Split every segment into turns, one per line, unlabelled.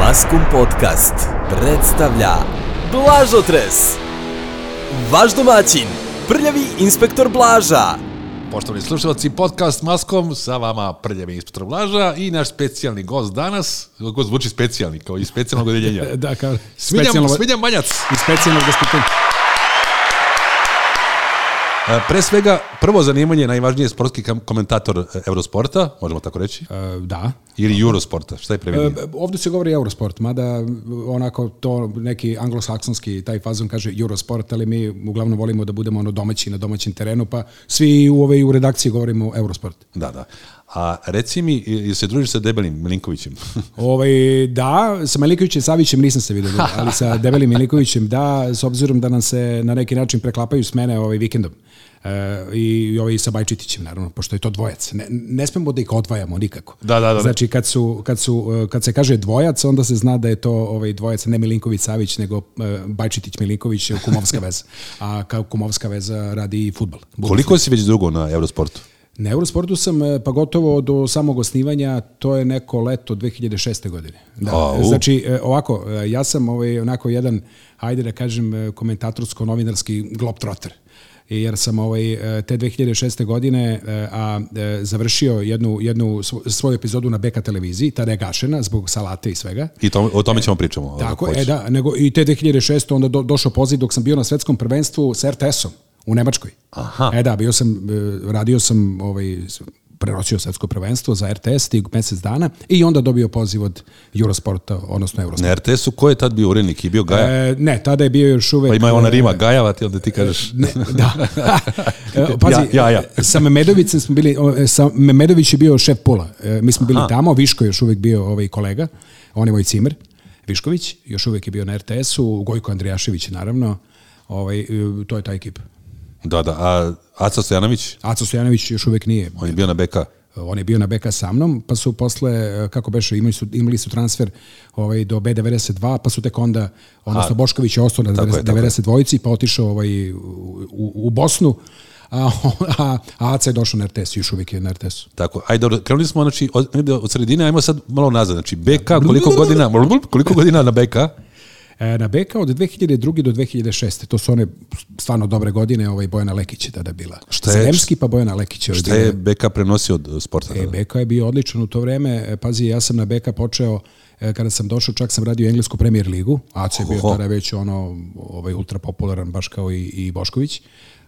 Maskum Podcast predstavlja Blažotres Vaš domaćin, prljavi inspektor Blaža
Poštovani slušalci, podcast Maskom, sa vama prljavi inspektor Blaža i naš specijalni gost danas, kako zvuči specijalni, kao iz specijalnog odeljenja.
Da, kao
Smiljan,
specijalno,
Smiljan Manjac,
i specijalnog gospodina.
E, pre svega, prvo zanimanje, najvažnije je sportski kam- komentator e, Eurosporta, možemo tako reći,
E, da.
ili Eurosporta, šta je
E,
prevedeno?
ovdje se govori Eurosport, mada onako to neki anglosaksonski taj fazon kaže Eurosport, ali mi uglavnom volimo da budemo ono domaći na domaćem terenu, pa svi u ove u redakciji govorimo Eurosport.
Da, da. A reci mi, je- jel se družiš sa debelim Milinkovićem?
Ovaj, da, sa Milinkovićem i Savićem nisam se vidio, ali sa Debelim Milinkovićem da, s obzirom da nam se na neki način preklapaju smene ovaj vikendom. E, i ovaj sa Bajčitićem naravno pošto je to dvojac ne, ne smemo da ih odvajamo nikako
Da, da, da, da.
znači kad su, kad su e, kad se kaže dvojac onda se zna da je to ovaj dvojac ne Milinković Savić nego e, Bajčitić Milinković je kumovska veza a kao kumovska veza radi i fudbal
Koliko si već dugo na Eurosportu?
na Eurosportu sam e, pa gotovo do samog osnivanja, to je neko leto 2006. godine. Da.
Au.
Znači, e, ovako, e, ja sam ovaj, onako jedan, hajde da kažem, e, komentatorsko-novinarski globtrotter. Jer sam ovaj, e, te 2006. godine e, a, e, završio jednu, jednu svo- svoju epizodu na BK televiziji, tada je gašena zbog salate i svega.
I to, o tome ćemo pričamo. ako
Tako,
hoćeš.
e da, nego i te 2006. onda do, došao poziv dok sam bio na svetskom prvenstvu s RTS-om u Nemačkoj.
Aha.
E da, bio sam, e, radio sam ovaj, s- prenosio svetsko prvenstvo za RTS tih mjesec dana i onda dobio poziv od Eurosporta, odnosno Eurosporta.
Na RTS-u ko je tad bio urednik? Je bio Gaja?
E, ne, tada je bio još uvek...
pa ima ona
e,
rima Gajava, ti onda ti kažeš...
Ne, da. E, Pazi,
Ja, ja, ja.
sa Memedovicem smo bili, o, e, sa Memedović je bio šef pola. E, Mi smo bili tamo, Viško je još uvijek bio ovaj kolega, on je moj cimer, Višković, još uvijek je bio na RTS-u, Gojko Andrijašević naravno, ovaj, e, to je ta ekipa.
Da, da, a Aca Stojanović,
Aco Stojanović još uvijek nije.
on je bio na BK.
Eh, On je bio na BK sa mnom, pa su posle, e, kako beše, imali su, imali su transfer ovaj, do B92, pa su tek onda, odnosno Bošković je ostao na
Tako je, tako je.
92-ici, pa otišao ovaj, u, u, u Bosnu, a, a, a AC je došao na RTS, još uvijek je na RTS.
Tako, ajde, dobro, krenuli smo znači, od, negde od sredine, ajmo sad malo nazad. Znači, BK, koliko godina, koliko godina na BK?
E, na BK od 2002. do 2006. To su one stvarno dobre godine, ovaj Bojana Lekić je tada bila.
Šta je-
Zelemski pa Bojana Lekić. je
Šta
bila-
je BK prenosio od sporta?
E, Beka je bio odličan u to vreme. E, Pazi, ja sam na Beka počeo e, kada sam došao, čak sam radio englesku premier ligu. AC je bio
Oho.
tada već ono, ovaj, ultra popularan, baš kao i, i Bošković.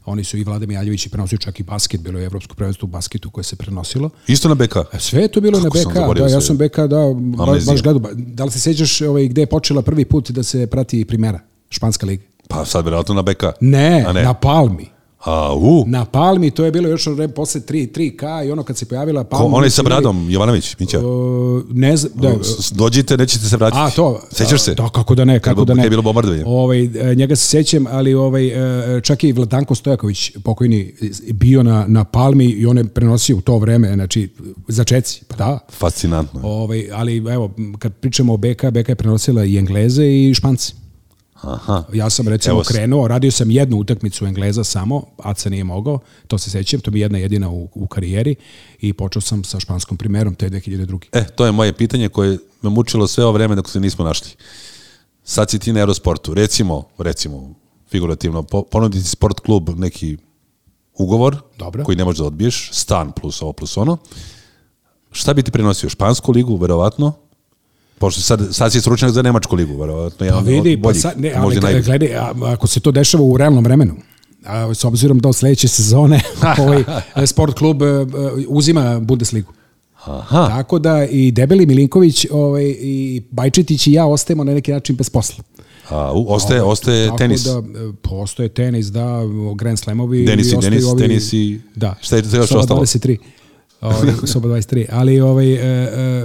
Oni su i Vlada Mijaljević i prenosio čak i basket, bilo je evropsko prvenstvo u basketu koje se prenosilo.
Isto na BK?
E, Sve je to bilo
Kako
na
sam
BK,
zaboravio
da, ja
sve.
sam BK, da, baš,
Amnezija.
baš gledao. Ba- Da li se sjećaš ovaj, gde je počela prvi put da se prati primjera, Španska liga?
Pa sad vjerojatno na BK.
Ne,
A ne.
na Palmi.
A, u,
Na Palmi, to je bilo još ono vreme posle 3, 3K i ono kad se pojavila
ko,
Palma...
onaj
oni
sa
su bili-
bradom, Jovanović, Mića.
O, ne znam, da,
S- Dođite, nećete se vratiti.
A to,
Sećaš se?
Da, kako da ne, kako
je-
da ne.
kad je bilo bombardovanje.
Ovaj e, njega se sjećam, ali ovaj e, čak i Vladanko Stojaković pokojni bio na na Palmi i on je prenosio u to vreme, znači začeci, pa da.
Fascinantno. je.
Ovaj, ali evo, kad pričamo o BK, BK je prenosila i Engleze i Španci.
Aha.
Ja sam recimo
Evo s-
krenuo, radio sam jednu utakmicu Engleza samo, Aca nije mogao, to se sjećam, to mi je jedna jedina u, u karijeri i počeo sam sa španskom primerom, te 2002.
E, to je moje pitanje koje me mučilo sve ovo vreme dok se nismo našli. Sad si ti na Eurosportu. Recimo, recimo, figurativno, po- ponudi ti sport klub neki ugovor
Dobro.
koji ne možeš da odbiješ, stan plus ovo plus ono. Šta bi ti prenosio? Špansku ligu, verovatno? Pošto sad, sad si stručnjak za Nemačku ligu, verovatno.
Pa vidi, pa sad, ne, ali gledaj, gledaj, a- ako se to dešava u realnom vremenu, a, s obzirom da od sledeće sezone ovaj e, sport klub e, e, uzima Bundesligu.
Aha,
Tako da i Debeli Milinković ovaj, i Bajčetić i ja ostajemo na neki način bez posla.
a, u, ostaje, ostaje
Tako
tenis.
da e, postoje tenis, da, o, Grand Slamovi.
Denis i
ostaju
Denis, tenis i-
Da.
Šta je to još
Soba
ostalo?
23. Ovaj, Soba 23. Ali ovaj, e, e,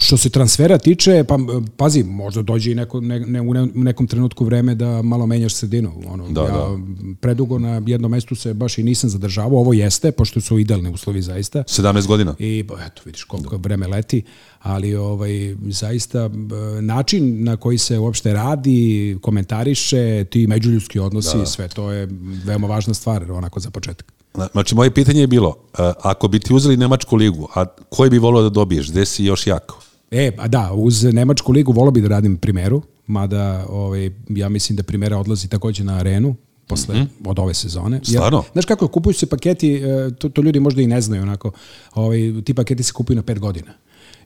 što se transfera tiče, pa m, pazi, možda dođe i neko, ne, ne- u ne- u nekom trenutku vreme da malo menjaš sredinu. Ono,
Da,
ja
da.
m, predugo na jednom mestu se baš i nisam zadržavao. Ovo jeste, pošto su idealni uslovi zaista.
17 godina.
I pa, eto, vidiš koliko vreme leti, ali ovaj, zaista b- način na koji se uopšte radi, komentariše, ti međuljudski odnosi, sve to je veoma važna stvar, onako za početak.
Zna- Znači, moje pitanje je bilo, e, ako bi ti uzeli Nemačku ligu, a koji bi volio da dobiješ, gde si još jako?
E, a da, uz Nemačku ligu volao bi da radim primeru, mada ovaj, ja mislim da primera odlazi takođe na arenu, posle mm -hmm. od ove sezone. Jer,
Mhm. Stvarno?
znaš kako, kupuju se paketi, e, to, to ljudi možda i ne znaju onako, ovaj, ti paketi se kupuju na pet godina.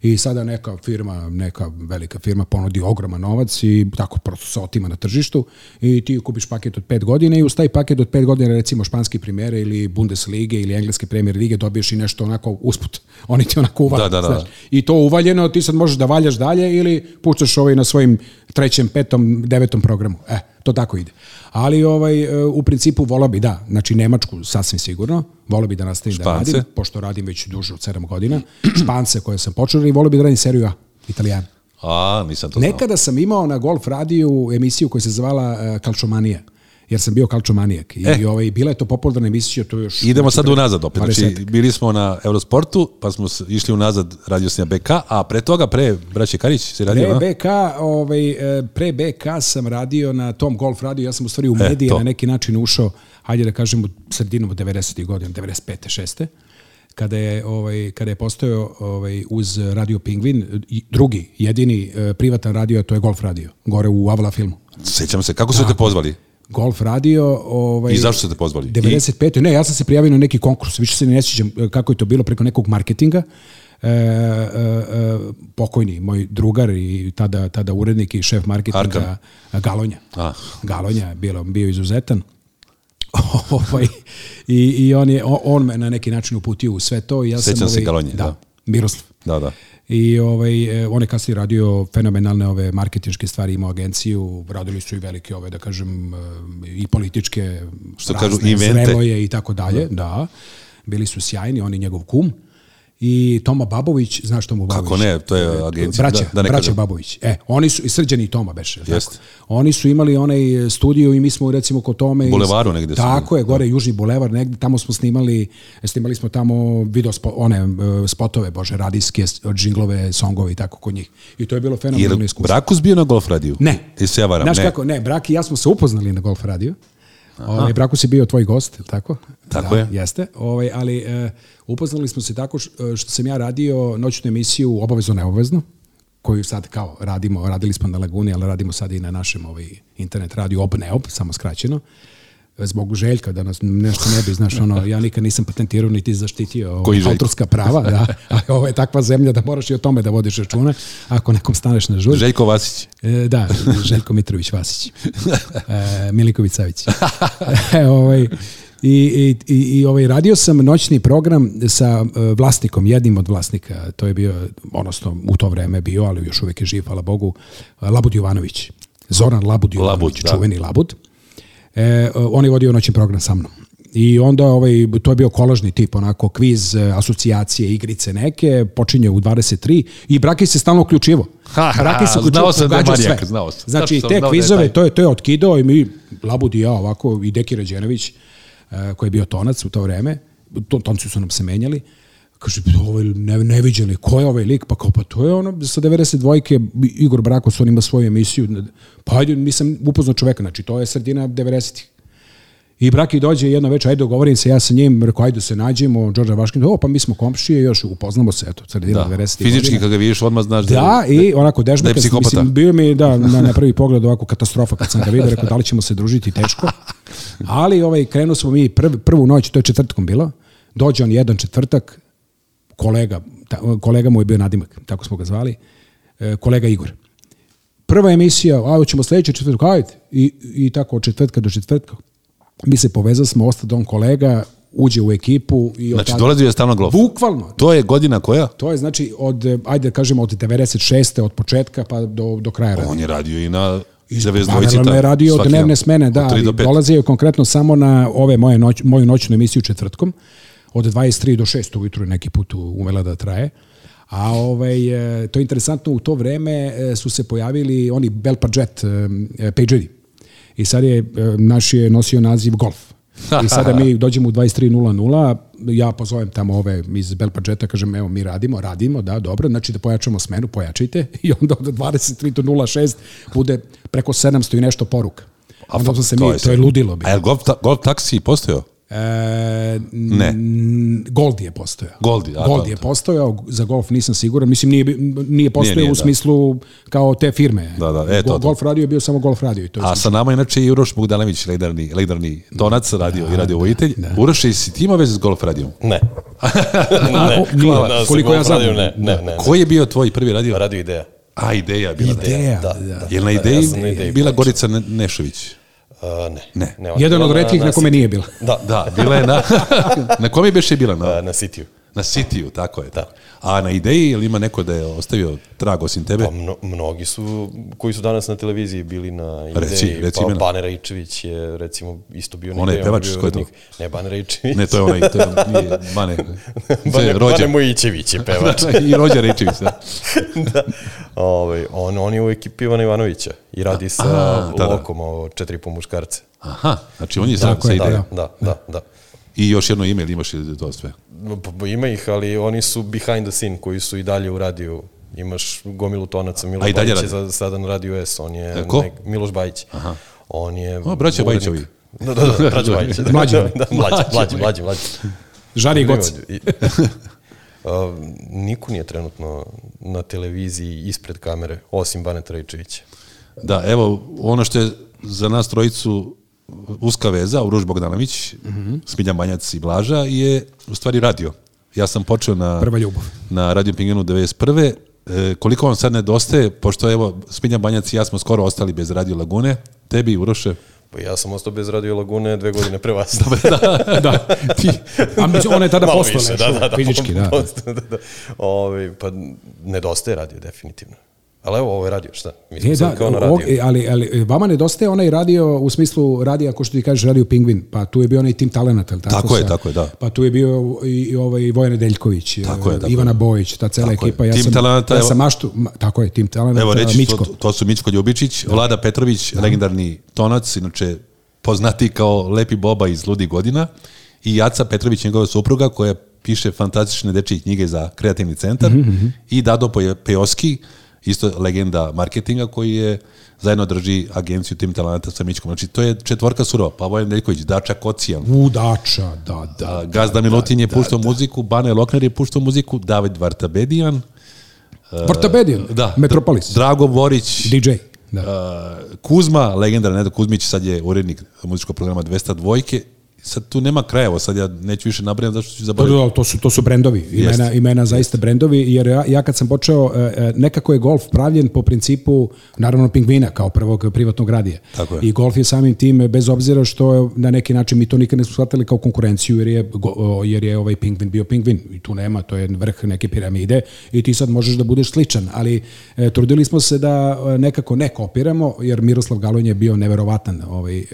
I sada neka firma, neka velika firma ponudi ogroman novac i tako prosto se otima na tržištu i ti kupiš paket od pet godina i uz taj paket od pet godina recimo španski primere ili Bundeslige ili engleske premier lige dobiješ i nešto onako usput. Oni ti onako uvale.
Da, da, da.
znaš. I to uvaljeno, ti sad možeš da valjaš dalje ili puštaš ovaj na svojim trećem, petom, devetom programu. E, to tako ide. Ali ovaj, e, u principu volao bi, da, znači Nemačku sasvim sigurno, volao bi da nastavim
Špance.
da radim, pošto radim već duže od 7 godina, Špance koje sam počeo i volao bi da radim seriju A, Italijana.
A, nisam to znao.
Nekada sam imao na Golf radiju emisiju koja se zvala e, Kalčomanija jer sam bio kalčomanijak. I,
E.
e. ovaj, bila je to popularna emisija, to je još...
Idemo sad unazad opet. Znači,
20-ak.
bili smo na Eurosportu, pa smo s- išli unazad radio sam na BK, a pre toga, pre braće Karić, si radio,
Pre
a?
BK, E ovaj, e, pre BK sam radio na tom golf radiju, ja sam u stvari u
E,
medije
to.
na neki način ušao, hajde da kažem, u sredinom 90. godina, 95. 6. kada je ovaj kada je postojao ovaj uz Radio Pingvin i drugi jedini e, privatan radio a to je Golf radio gore u Avala filmu
Sećam se, kako su te pozvali?
Golf radio Da. ovaj
I zašto su te pozvali? I-
95. Ne, ja sam se prijavio na neki konkurs, više se ne sjećam e, kako je to bilo preko nekog marketinga. E, e, e, pokojni moj drugar i tada, tada urednik i šef marketinga Galonja.
A.
Galonja je bilo, bio izuzetan. ovaj, i, i on, je, on- on me na neki način uputio u sve to. I ja sam,
Sjećam se
ovaj,
Galonje, da.
Da, Miroslav.
Da, da.
I ovaj, e, on je kasnije radio fenomenalne ove marketinške stvari, imao agenciju, radili su i velike ove, da kažem, e, i političke,
Što
razne,
kažu, invente.
Zreloje i tako dalje, da. Bili su sjajni, on i njegov kum. I Toma Babović, znaš Tomu Babović?
Kako ne, to je agencija.
Braća,
da, da ne
braća
kažem.
Babović. E, oni su, i Srđan i Toma Beše. jel tako?
Jeste.
Oni su imali onaj studio i mi smo recimo kod Tome... iz-
Bulevaru negde su
Tako je, gore Južni bulevar, negde tamo smo snimali, snimali smo tamo video spo, one e, spotove, bože, radijske, s- džinglove, songove i tako kod njih. I to je bilo
Je
fenomenalno
li
iskustvo.
Brakus bio na golf radiju?
Ne.
I se ja varam,
Znaš
ne.
kako, ne, Brak i ja smo se upoznali na Golf radiju. Ovaj Brakus je bio tvoj gost, je li tako?
Tako
da,
je.
Jeste. Ovaj ali e, upoznali smo se tako š- e, što sam ja radio noćnu emisiju obavezno neobavezno koju sad kao radimo, radili smo na Laguni, ali radimo sad i na našem ovaj internet radiju ob neob, samo skraćeno. Zbog željka da nas nešto ne bi, znaš, ono, ja nikad nisam patentirao niti zaštitio ovaj,
Koji željko?
autorska prava, da, ali ovo je takva zemlja da moraš i o tome da vodiš računa ako nekom staneš na žulj.
Željko Vasić.
E, da, Željko Mitrović Vasić. E, Miliković Savić. E, ovaj, I, i, i, I ovaj, radio sam noćni program sa e, vlasnikom, jednim od vlasnika, to je bio, odnosno u to vreme je bio, ali još uvek je živ, hvala Bogu, Labud Jovanović. Zoran Labud Jovanović,
Labud, da.
čuveni Labud. E, on je vodio noćni program sa mnom. I onda ovaj, to je bio kolažni tip, onako kviz, e, asocijacije, igrice neke, počinje u 23 i Braki se stalno uključivo.
Ha, ha,
Braki se
znao
uključivo,
sam da je
pogađao
manijak,
sve.
znao sam.
Znači,
Tačno sam
te
znao da je
kvizove,
taj.
to je, to je otkidao i mi, Labud i ja ovako, i Deki Rađenović, e, koji je bio tonac u to vreme, to, tonci su nam se menjali, kaže, ovaj ne, neviđeni, ko je ovaj lik? Pa kao, pa to je ono, sa 92-ke, Igor Brakos, on ima svoju emisiju, pa ajde, nisam upoznao čoveka, znači, to je sredina 90-ih. I Braki dođe jedno večer, ajde dogovorim se ja sa njim, rekao ajde se nađemo, Đorđa Vaškin, o pa mi smo komšije, još upoznamo se, eto, sredina
Da.
90-ih.
Fizički
godina.
kad ga vidiš odmah znaš
Da,
je-
i onako dežbaka,
Da je psihopata.
mislim, bio mi je, da, na, na prvi pogled ovako katastrofa kad sam ga vidio, rekao da li ćemo se družiti, teško. Ali ovaj, krenuo smo mi prv, prvu noć, to je četvrtkom bilo, dođe on jedan četvrtak, kolega, ta, kolega mu je bio nadimak, tako smo ga zvali, e, kolega Igor. Prva emisija, a hoćemo sledeći četvrtak, ajde, i, i tako od četvrtka do četvrtka. Mi se povezali smo, ostao on kolega, uđe u ekipu i od
Znači,
tada-
dolazio je stalno golf.
Bukvalno,
To je godina koja?
To je znači od, eh, ajde da kažemo, od 96. od početka pa do, do kraja rada.
On je radio i na
Paralelno
92
je radio
svaki
dnevne
dan.
smene, da,
Od 3 do
ali
5.
dolazio je konkretno samo na ove moje noć, moju noćnu emisiju četvrtkom, od 23 do 6 ujutru je neki put u- umela da traje. A ovaj, eh, to je interesantno, u to vreme eh, su se pojavili oni Belpadžet, Pagedi. e, I sad je, eh, naš je nosio naziv Golf. I sada mi dođemo u 23.00, ja pozovem tamo ove iz Belpadžeta, kažem, evo, mi radimo, radimo, da, dobro, znači da pojačamo smenu, pojačajte, i onda od 23 do 06 bude preko 700 i nešto poruka.
A
Onda
pa,
smo se
to
mi,
je E,
to je ludilo bi.
A je golf, ta, golf taksi postojao?
E,
Ne.
n- Gold je postojao.
Goldi, a, da,
Gold
to-
je postojao, za golf nisam siguran. Mislim, nije, nije postojao
nije,
u
da.
smislu kao te firme.
Da, da, e, to,
Go-
to.
Golf radio je bio samo golf radio. I to je
A sa nama je inače i Uroš Bogdanović, legendarni, legendarni tonac, radio i radio vojitelj. Uroš, jesi ti imao veze s golf radijom?
Ne.
o, nije,
Hvala. Da,
koliko
sam
ja znam.
radio, Ne, ne, ne. ne. Pa
Koji je bio tvoj prvi radio?
Radio ideja.
A, ideja je bila. Ideja.
ideja.
Da,
da.
da.
Jel na
Ja
ideji
sam na ideji
bila
bio.
Gorica Ne- Nešović?
A, ne.
Ne.
ne ona je
Jedan
bila
od retkih na kome
City-
nije bila.
Da, da.
Da, bila je na... na kom je biše bila? Na,
Na Sitiju.
na Sitiju, tako je.
Da.
A na ideji, jel ima neko da je ostavio trag osim tebe?
Pa mno, mnogi su, koji su danas na televiziji bili na ideji.
Reci- reci
pa
imena.
Bane Rajčević je recimo isto bio na
Onaj
ideji.
pevač,
je bio
ko je to?
urednik. Ne, Bane Rajčević.
Ne, to je onaj, to je, nije, Bane, to je
Bane, Bane
Rođa.
Mojićević je pevač.
I Rođa Rečević, da.
da. Ovaj, on, on je u ekipi Ivana Ivanovića i radi sa
A, da, da.
Lokom o četiri i po muškarce.
Aha, znači on je sam
Tako
sa
je, da.
idejom.
Da, da, da. da.
I još jedno ime, ili imaš ili to sve?
Pa, pa Ima ih, ali oni su behind the scene koji su i dalje u radiju. Imaš gomilu tonaca, Miloš
A i dalje
Bajić je
radi?
za, sada na radiju S, on je
E, ko?
Miloš Bajić. Aha. On je...
O, braća
urednik-
Bajićevi.
Da, da, da, braća Bajić. Da,
Mlađi.
Da, da, mlađi, mlađi, mlađi, mlađi.
Žari Goc.
I- A, Niko nije trenutno na televiziji ispred kamere, osim Baneta Rajčevića.
Da, evo, ono što je za nas trojicu uska veza, Uroš Bogdanović,
Mhm.
Smiljan Banjac i Blaža, je u stvari radio. Ja sam počeo na,
Prva ljubav.
na Radio Pingvinu 91. E, koliko vam sad nedostaje, pošto evo, Smiljan Banjac i ja smo skoro ostali bez Radio Lagune, tebi, Uroše,
Pa ja sam ostao bez Radio Lagune dve godine pre vas.
da. Ti, a mislim, ona je tada
Malo
postala
više,
nešto, fizički, da.
postala, da, da. Ove, pa nedostaje radio, definitivno. Ali evo, ovo je radio, šta? Mi smo
E, da,
e, sad kao na
o-
radio.
e, ali, ali vama nedostaje onaj radio u smislu radija, ako što ti kažeš, radio Pingvin, pa tu je bio onaj tim talenata, tako?
Tako je, tako je, da.
Pa tu je bio i, i ovaj Vojan Nedeljković,
Tako je,
eh,
tako
Ivana
je.
Bojić, ta cela
Tako je.
ekipa. Ja
Tim
sam,
talenata,
ja
evo-
sam maštu, ma, tako je, tim talenata,
Evo reći, to,
Mičko.
to su Mičko Ljubičić,
Da.
Vlada Petrović, legendarni tonac, inače poznati kao Lepi Boba iz Ludi godina i Jaca Petrović, njegova supruga koja piše fantastične dečije knjige za kreativni centar
Mhm,
i Dado Poje- Pejoski, isto legenda marketinga koji je zajedno drži agenciju Tim Talanta sa Mičkom. Znači, to je četvorka surova. Pa Vojan Nedeljković, Dača Kocijan,
Vudača, da, da.
a, Gazda Milutin je puštao muziku, Bane Lokner je puštao muziku, David Vartabedijan,
Portobedijan,
da,
Metropolis,
Drago Borić,
DJ. Da.
Uh, Kuzma, legendar Nedo Kuzmić, sad je urednik muzičkog programa 202. Sad tu nema krajeva, sad ja neću više nabrajati zašto ću
Pa
zaboraviti.
da, to su to su brendovi, imena
Jeste.
imena zaista brendovi jer ja, ja kad sam počeo e, e, nekako je golf pravljen po principu naravno pingvina kao prvog privatnog radija.
Tako je.
I golf je samim tim e, bez obzira što je, na neki način mi to nikad ne smo shvatili kao konkurenciju jer je go- o, jer je ovaj pingvin bio pingvin i tu nema, to je vrh neke piramide i ti sad možeš da budeš sličan, ali e, trudili smo se da e, nekako ne kopiramo jer Miroslav Galon je bio neverovatan ovaj e,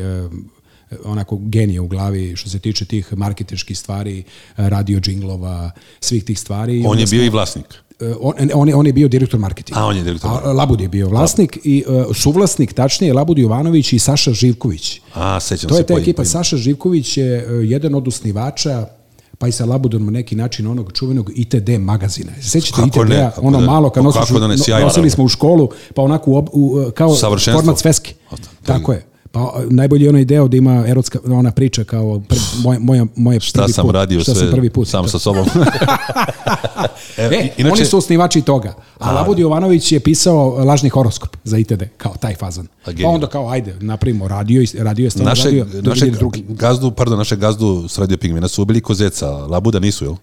onako genije u glavi što se tiče tih marketinških stvari, radio džinglova, svih tih stvari.
On je
Onda smo-
bio i vlasnik.
E, on, on, je, on je bio direktor marketinga.
A, on je direktor
A, Labud je bio vlasnik i e, suvlasnik, tačnije, Labud Jovanović i Saša Živković.
A, sećam
To
se.
je ta
po-
ekipa.
po-
Saša Živković je e, jedan od osnivača pa i sa Labudom na neki način onog čuvenog ITD magazina. Se Sećate
Kako ne,
ITD-a,
kako
ono
ne.
malo kad
Pa
nosiš,
kako da ne,
no-
sjajno,
nosili
naravno.
smo u školu, pa onako u, ob- u, e, kao
Savršenstvo.
format sveske.
O, da, to- to je-
Tako je. Pa a, najbolji je onaj deo da ima erotska ona priča kao pr, moja, moja, moje
Šta
prvi
sam
put.
radio
šta
sve
sam prvi put.
sam
To-
sa sobom. e,
E,
inače, da.
oni su osnivači toga. A Labud Jovanović je pisao e, lažni horoskop za ITD, kao taj fazan.
A,
Pa
genijalno.
onda kao, ajde, napravimo radio, i- radio je stvarno
našeg,
radio,
našeg
našeg, drugi.
gazdu, pardon, našeg gazdu s Radio Pingvina su ubili kozeca, Labuda nisu, jel?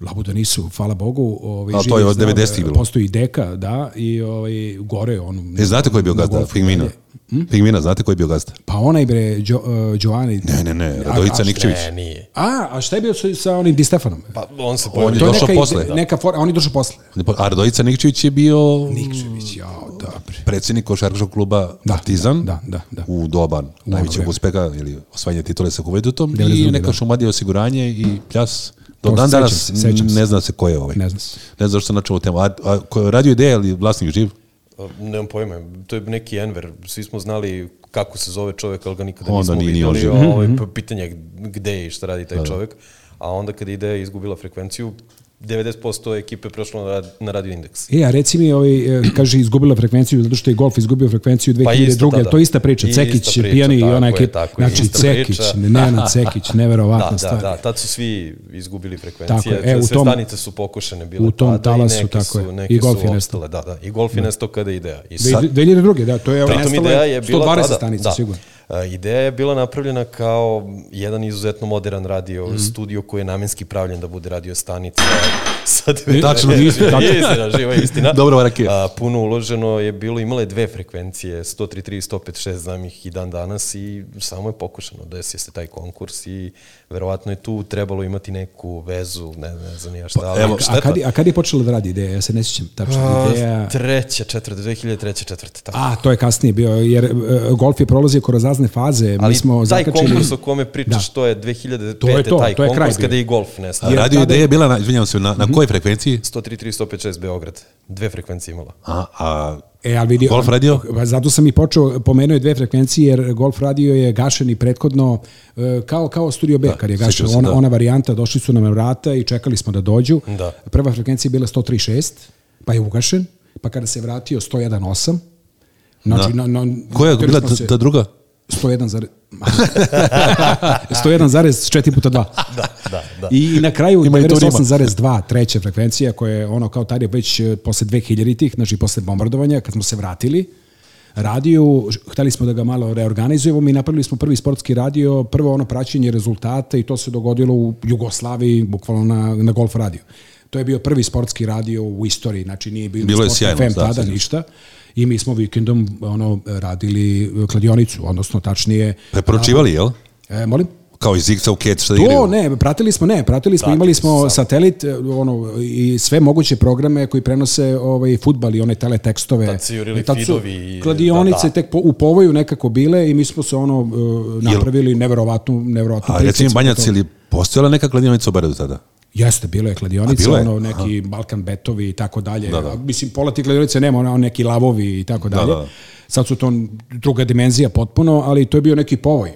Labuda da nisu, hvala Bogu. Ovaj,
A to
živi
je od
zdrav,
90-ih bilo.
Postoji i deka, da, i ovaj, gore je on.
E, znate ko je bio gazda? Pingvina.
Hm?
Pingvina, znate ko je bio gazda?
Pa onaj bre, Đo, uh, Giovanni.
Ne, ne, ne, Radovica
a-
Nikčević.
Ne, E, nije.
A, a šta je bio sa, sa onim Di Stefanom?
Pa on se
On je
pojavio.
to je
došao
neka,
posle. Mm.
ide- neka fora, a on je došao posle.
A Radovica pa, Nikčević je bio
Nikčević, jao, dobro.
predsjednik košarkaškog kluba
Da,
Partizan
da, da, da.
u doba najvećeg
vreme.
uspeha ili osvajanja titule sa Kuvedutom i
92,
neka
da.
šumadija osiguranje i pljas. Do
To
dan
se
danas
sećam, sećam se.
ne zna se ko je ovaj.
Ne zna se.
Ne zna što načemo temu. A, a ko je radio ideja ili vlasnik živ?
Nemam pojma, to je neki Enver. Svi smo znali kako se zove čovjek, ali ga nikada
Onda
nismo
nije ni on
vidjeli.
živ.
Mhm.
Ovaj, pa pitanje je gde je i šta radi taj čovjek. A onda kad je ideja izgubila frekvenciju, 90% ekipe prešlo na, rad, na radio indeks.
E, a reci mi, ovaj, e, kaže, izgubila frekvenciju, zato što je golf izgubio frekvenciju 2002.
Pa isto tada.
to je ista priča,
I
Cekić,
ista priča,
Pijani i
tako
ona
je,
ekipa.
tako je,
Znači,
ista
Cekić,
priča.
Nenad Cekić, neverovatna
Da, da,
stvar.
da, tad su svi izgubili frekvencije,
Tako je, e, u
sve
tom-
stanice su pokušene bile
u tom
tada i
talasu,
neke
tako
su,
je.
neke
I
su
golf je nestao.
opstale, da, da, i golf je nestao kada je ideja. I sad,
2002. da, to je evo
pritom
nestalo
ideja
je
je bila
120
tada,
stanica,
da,
sigurno.
A, Ideja je bila napravljena kao jedan izuzetno modern radio
Mhm.
mm. studio koji je namenski pravljen da bude radio stanica. Sa dve-
Tačno, istina, tačno.
istina, živa istina.
Dobro, Rakija.
A, puno uloženo je bilo, imale dve frekvencije, 133 i 156, znam ih i dan danas i samo je pokušano, desio se taj konkurs i verovatno je tu trebalo imati neku vezu, ne, ne znam ni ja šta, ali
evo, a
Pa, A
šteta.
kad, je- a kad je počela da radi ideja? Ja se ne sjećam tačno.
A,
Ideja...
Treća, četvrta, 2003. četvrta, tako.
A, to je kasnije bio, jer e, golf je prolazio kroz razne faze.
Ali
Mi smo
taj
zakačili...
konkurs o kome pričaš,
Da.
da. to je 2005.
To je to,
taj
to je kraj
konkurs
bio.
kada je i golf nestao.
A radio ideja je bila, na, izvinjavam se, na,
Mhm.
na kojoj frekvenciji?
103.356 Beograd. Dve frekvencije imala.
A, a
E, ali vidi,
Golf radio?
Pa Zato sam i počeo, pomenuo je dve frekvencije, jer golf radio je gašen i prethodno, e, kao, kao Studio B, kad je gašen,
sjećam se,
ona,
da.
ona varijanta, došli su nam na vrata i čekali smo da dođu.
Da.
Prva frekvencija je bila 103.6, pa je ugašen, pa kada se vratio 101.8, znači,
Da.
da. no, no,
koja je
videli
bila
smo
ta,
se-
ta druga?
101 zar... 101,4 puta 2.
Da, da, da.
I na kraju
Ima i Turima.
98,2 treća frekvencija koja je ono kao tad je već e, posle 2000-ih, znači posle bombardovanja, kad smo se vratili, radiju, ž- hteli smo da ga malo reorganizujemo, mi napravili smo prvi sportski radio, prvo ono praćenje rezultata i to se dogodilo u Jugoslaviji, bukvalno na, na golf radiju. To je bio prvi sportski radio u istoriji, znači nije bilo,
Bilo je
Sport
sjajno,
FM
da,
tada,
sjećam se.
ništa. I mi smo vikendom ono, radili e, kladionicu, odnosno tačnije...
Preporučivali, jel?
E, molim?
Kao i Zigza u Kec, šta da
To
igraju? da.
ne, pratili smo, ne, pratili smo, imali smo satelit e, ono, i sve moguće programe koji prenose ovaj, futbal i one teletekstove. E,
Tad su jurili
Tad su
feedovi i-
Kladionice
da, da.
tek po, u povoju nekako bile i mi smo se ono e, napravili neverovatnu, neverovatnu
A recimo
prikolicu.
Banjac, ili postojala neka kladionica u Beredu tada?
Jeste, bilo je
A,
kladionica,
bilo je?
ono neki Balkan betovi i tako dalje. Da, da. Mislim, pola tih kladionica nema, ono neki lavovi i tako dalje.
da.
Sad su to druga dimenzija potpuno, ali to je bio neki povoj.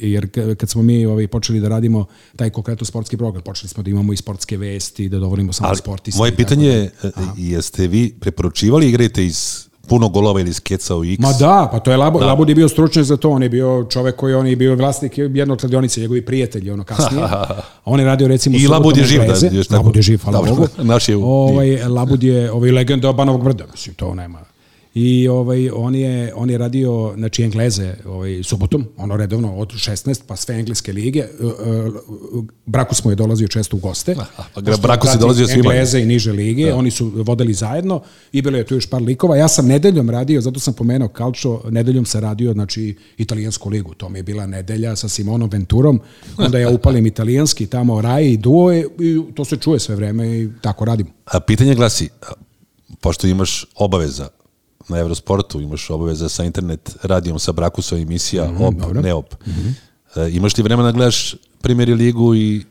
Jer k- kad smo mi ovaj, počeli da radimo taj konkretno sportski program, počeli smo da imamo i sportske vesti, da dovolimo samo
Ali
sportiste. i
moje
tako da.
pitanje
dalje.
je, e, jeste vi preporučivali igrajte iz puno golova ili iz Keca u X?
Ma da, pa to je Labo, da. Labud je bio stručnjak za to, on je bio čovek koji on je bio vlasnik jednog kladionice, njegovi prijatelji ono kasnije. A on je radio recimo
I
subotom
Labud je
na
živ, da,
Breze.
još tako.
Labud je živ, hvala
Dobro,
Bogu.
naš je u-
Ovaj Labud je ovaj legenda Banovog brda, mislim to nema. I ovaj on je on je radio znači Engleze ovaj subotom, ono redovno od 16 pa sve engleske lige. E, e, Braku smo je dolazio često u goste.
pa
Pošto
Braku si
prati
dolazio svima.
Engleze i niže lige, da. oni su vodili zajedno i bilo je tu još par likova. Ja sam nedeljom radio, zato sam pomenuo Calcio, nedeljom sam radio znači, italijansku ligu. To mi je bila nedelja sa Simonom Venturom, onda ja upalim italijanski, tamo Rai i Duo je- i to se čuje sve vreme i tako radimo.
A pitanje glasi, a, pošto imaš obaveza na Eurosportu, imaš obaveza sa internet radijom, sa Brakusovim emisija, mm -hmm, op,
Mhm, dobro. Mhm.
ne op. Mm -hmm. e, imaš li vremena da gledaš primjeri ligu i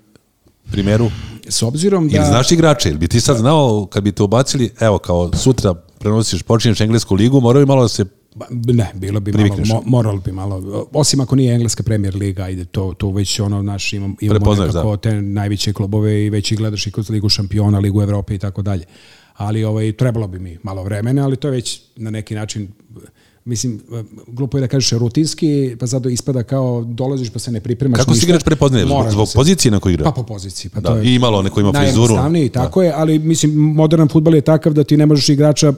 primeru?
S obzirom da...
Ili znaš igrače? Ili bi ti sad znao kad bi te ubacili, evo kao sutra prenosiš, počinješ englesku ligu, morao bi malo da se
Ba- Ne, bilo bi
Privikneš.
malo, mo, moralo bi malo, osim ako nije engleska premier liga, ajde, to, to već ono, naš, imam, imamo
Prepoznaješ,
nekako da. te najveće klubove i već ih gledaš i kroz ligu šampiona, ligu Evrope i tako dalje. Ali ovaj, trebalo bi mi malo vremena, ali to je već na neki način, mislim, glupo je da kažeš rutinski, pa zato ispada kao dolaziš pa se ne pripremaš
Kako se
ništa.
igrač prepoznaje? Zbog,
Moraš da
zbog
se-
pozicije na koju igra?
Pa po poziciji. Pa
Da,
to je
i malo neko ima frizuru.
najjednostavnije i tako da. je, ali mislim, modern futbal je takav da ti ne možeš igrača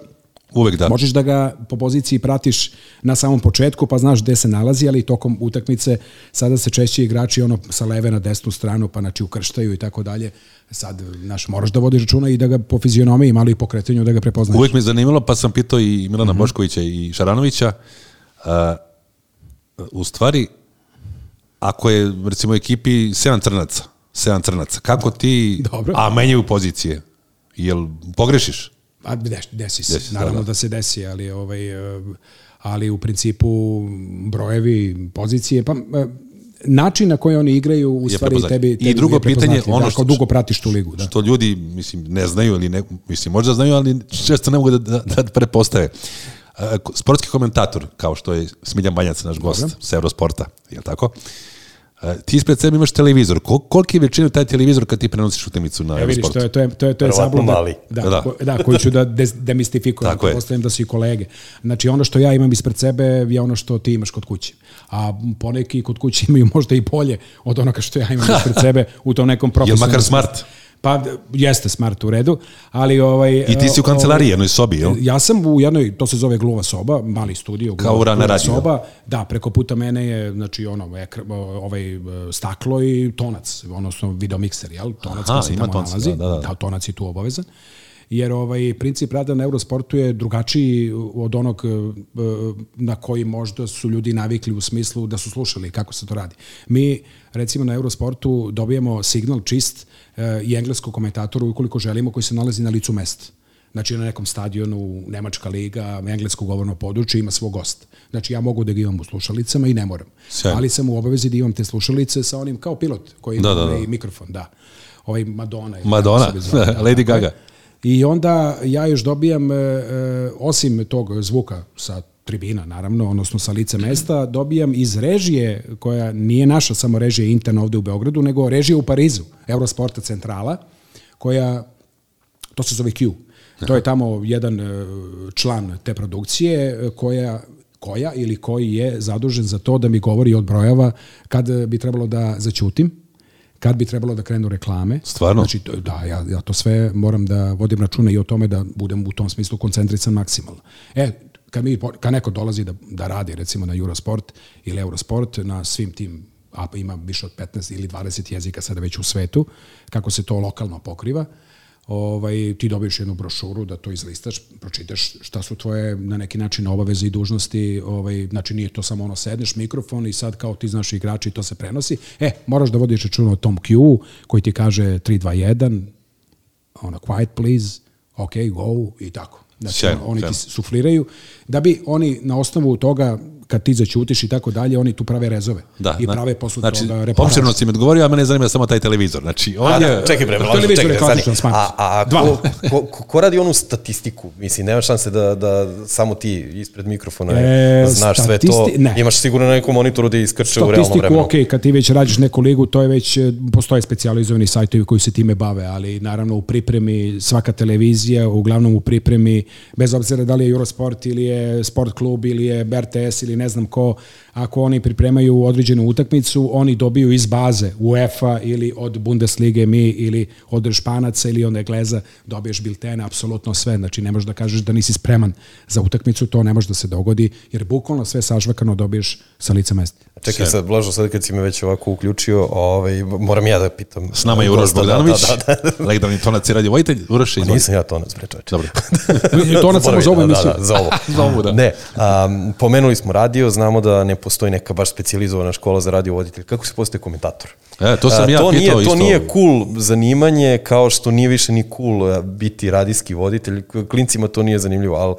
Uvek da.
Možeš da ga po poziciji pratiš na samom početku, pa znaš gde se nalazi, ali tokom utakmice sada se češće igrači ono sa leve na desnu stranu, pa znači ukrštaju i tako dalje. Sad, znaš, moraš da vodiš računa i da ga po fizionomiji, malo i po kretanju da ga prepoznaš.
Uvek me je zanimalo, pa sam pitao i Milana mm -hmm. Boškovića i Šaranovića. A, u stvari, ako je, recimo, u ekipi 7 crnaca, 7 crnaca, kako ti,
Dobro.
a menjaju pozicije, jel pogrešiš?
A Pa, desi, desi
Desi,
se, desi,
da,
naravno da,
da.
da se desi, ali ovaj e, ali u principu brojevi, pozicije, pa e, način na koji oni igraju u
Je
stvari
prepoznatljiv.
tebi,
I
tebi
drugo
je prepoznatljiv,
pitanje, ono
da,
što-
ako dugo pratiš tu ligu, da.
Što ljudi, mislim, ne znaju ili ne, mislim, možda znaju, ali često ne mogu da, da, da prepostave. E, A, ko- Sportski komentator, kao što je Smiljan Banjac, naš gost Dobro. sa Eurosporta, je li tako? E, ti ispred sebe imaš televizor. Kol, koliki je veličina taj televizor kad ti prenosiš utakmicu na
Ja vidiš,
Eurosportu?
to je, to je, to je, to je
Verovatno
zabluda.
mali.
Da,
Da.
da. Ko, da, koju ću da des- demistifikujem.
Tako je.
Postavljam da su i kolege. Znači, ono što ja imam ispred sebe je ono što ti imaš kod kuće. A poneki kod kuće imaju možda i bolje od onoga što ja imam ispred sebe u tom nekom
Jel
profesionalnom.
makar smart?
Pa, d- jeste smart u redu, ali ovaj...
I ti si u
ovaj,
kancelariji, jednoj sobi, jel?
E, Ja sam u jednoj, to se zove gluva soba, mali studio, gluva,
Kao u Rana
gluva
Radio.
soba. Da, preko puta mene je, znači, ono, ekr, ovaj, eh, staklo i tonac, odnosno videomikser, jel? Tonac
Aha,
koji se
ima
tamo
tonac,
nalazi.
da, da, da.
da, tonac je tu obavezan. Jer ovaj princip rada na Eurosportu je drugačiji od onog eh, na koji možda su ljudi navikli u smislu da su slušali kako se to radi. Mi recimo na Eurosportu dobijemo signal čist eh, i engleskog komentatoru ukoliko želimo koji se nalazi na licu mesta. Znači na nekom stadionu Nemačka liga, englesko govorno područje ima svog gosta. Znači ja mogu da ga imam u slušalicama i ne moram.
Sjajno.
Ali sam u obavezi da imam te slušalice sa onim kao pilot koji ima
Da, da, da.
onaj mikrofon, da. Ovaj Madonna je
Madonna,
kako se zove, da,
Lady
tako je.
Gaga.
I onda ja još dobijam, e, e, osim tog zvuka sa tribina, naravno, odnosno sa lice mesta, dobijam iz režije, koja nije naša samo režija interna ovde u Beogradu, nego režija u Parizu, Eurosporta centrala, koja, to se zove Q. To je tamo jedan e, član te produkcije e, koja koja ili koji je zadužen za to da mi govori i odbrojava kad e, bi trebalo da zaćutim, kad bi trebalo da krenu reklame.
Stvarno?
Znači, to- da, ja, ja to sve moram da vodim računa i o tome da budem u tom smislu koncentrisan maksimalno. E, kad, mi, po- kad neko dolazi da, da radi recimo na Eurosport ili Eurosport na svim tim a ima više od 15 ili 20 jezika sada već u svetu, kako se to lokalno pokriva, ovaj, ti dobiješ jednu brošuru da to izlistaš, pročitaš šta su tvoje na neki način obaveze i dužnosti, ovaj, znači nije to samo ono sedneš mikrofon i sad kao ti znaš igrači i to se prenosi, e, moraš da vodiš računa o tom Q koji ti kaže 3, 2, 1, ono, quiet please, ok, go i tako. Znači,
Sjajno,
ono, oni ti
sjajno.
sufliraju, da bi oni na osnovu toga kad ti zaćutiš i tako dalje, oni tu prave rezove
Da,
i
na-
prave posle
znači,
toga
Znači,
reportaž.
opširno si mi odgovorio, a mene zanima samo taj televizor. Znači, on
A,
je...
da, čekaj bre,
To je
Vlado,
vidi
čekaj,
klasičan
stani.
smart.
A, a
Dva.
ko, ko, ko, ko radi onu statistiku? Mislim, nema šanse da, da samo ti ispred mikrofona
E,
e, znaš sve to.
statisti- ne.
Imaš sigurno na nekom monitoru da iskrče u realnom
Statistiku,
vremenu.
ok, kad ti već radiš neku ligu, to je već, e, postoje specializovani sajtovi koji se time bave, ali naravno u pripremi svaka televizija, uglavnom u pripremi, bez obzira da li je Eurosport ili je Sport klub ili je RTS ili ne znam ko, ako oni pripremaju određenu utakmicu, oni dobiju iz baze UEFA ili od Bundeslige mi ili od Španaca ili od Engleza dobiješ biltene, apsolutno sve. Znači ne možeš da kažeš da nisi spreman za utakmicu, to ne može da se dogodi, jer bukvalno sve sažvakano dobiješ sa lica mesta.
Čekaj sad, Blažo, sad kad si me već ovako uključio, ovaj, moram ja da pitam.
S nama je Uroš
Gosta, da,
Bogdanović,
Da, da, da.
legendarni tonac i radiovoditelj. Uroš,
Pa
izvoli.
Nisam ja tonac, bre čoveče.
Dobro.
Tonac samo za ovu
Zaboravim,
emisiju.
Da, da, za ovo.
Za ovu, da.
Ne, um, pomenuli smo radio, znamo da ne postoji neka baš specializovana škola za radio voditelj. Kako se postaje komentator?
E, to sam
A,
ja pitao
to nije,
isto.
To nije cool zanimanje, kao što nije više ni cool e, biti radijski voditelj. Klincima to nije zanimljivo, ali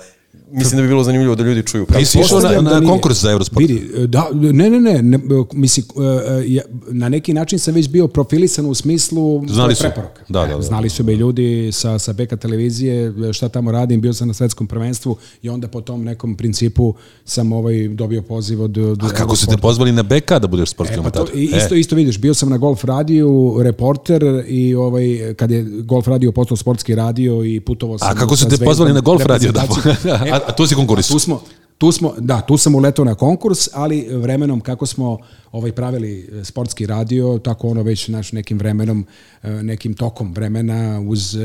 mislim da bi bilo zanimljivo da ljudi čuju. Kako
Nisi išao na,
Postavljam
na
da nije.
konkurs za Eurosport.
Vidi, e, da, ne, ne, ne, ne mislim, e, e, ja, na neki način sam već bio profilisan u smislu
Znali su.
svoje preporuke.
Da, da, da.
Znali su me ljudi sa, sa BK televizije, šta tamo radim, bio sam na svetskom prvenstvu i onda po tom nekom principu sam ovaj dobio poziv od... od
A kako su te pozvali na BK da budeš sportski
E, pa to,
komentator?
i- isto, isto vidiš, bio sam na Golf radiju, reporter i ovaj, kad je Golf radio postao sportski radio i putovao sam...
A kako su
sa
te
zvezdom E,
pozvali na golf radio? Da,
reprezentacije.
a, a tu si konkurisao.
Tu smo, tu smo, da, tu sam uletao na konkurs, ali vremenom kako smo ovaj pravili e, sportski radio, tako ono već naš nekim vremenom, e, nekim tokom vremena uz e,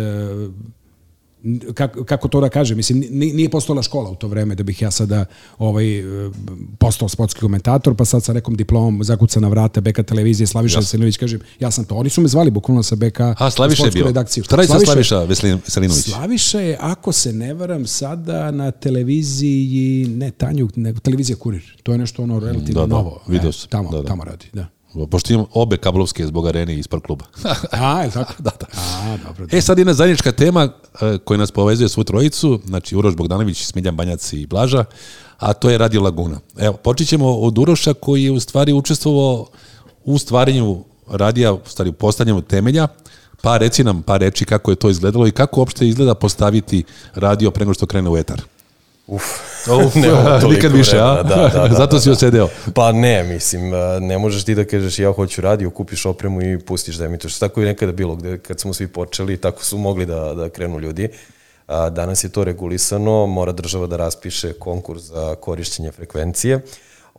n- kako, kako to da kažem, mislim, ni- nije postojala škola u to vreme da bih ja sada ovaj, e, postao sportski komentator, pa sad sa nekom diplomom zakuca na vrata BK televizije, Slaviša Veselinović, kažem, ja sam to, oni su me zvali bukvalno sa BK
A, Slaviša je
sportsku
bio.
redakciju.
Šta radi sa
Slaviša-
Slaviša Veselin- Veselinović?
Slaviša je, ako se ne varam, sada na televiziji, ne Tanjuk, nego televizija Kurir. To je nešto ono relativno
Da, da,
novo.
video
E,
sam.
Tamo,
Da, da.
tamo radi, da.
Pošto imam obe kablovske zbog arene i sport kluba.
A, je li tako? da, da. A, dobro. Da.
E, sad jedna zajednička tema e, koja nas povezuje svu trojicu, znači Uroš Bogdanović, Smiljan Banjac i Blaža, a to je Radio Laguna. Evo, počet ćemo od Uroša koji je u stvari učestvovao u stvaranju radija, u stvari u postavljanju temelja, pa reci nam par reči kako je to izgledalo i kako uopšte izgleda postaviti radio pre nego što krene u etar.
Uf.
Uf,
Nemam toliko
nikad više, a?
vremena, da, da, da,
Zato si
da.
osedeo.
Pa ne, mislim, a, ne možeš ti da kažeš ja hoću radio, kupiš opremu i pustiš da emituješ. Tako je nekada bilo, gde, kad smo svi počeli, tako su mogli da, da krenu ljudi. A, danas je to regulisano, mora država da raspiše konkurs za korišćenje frekvencije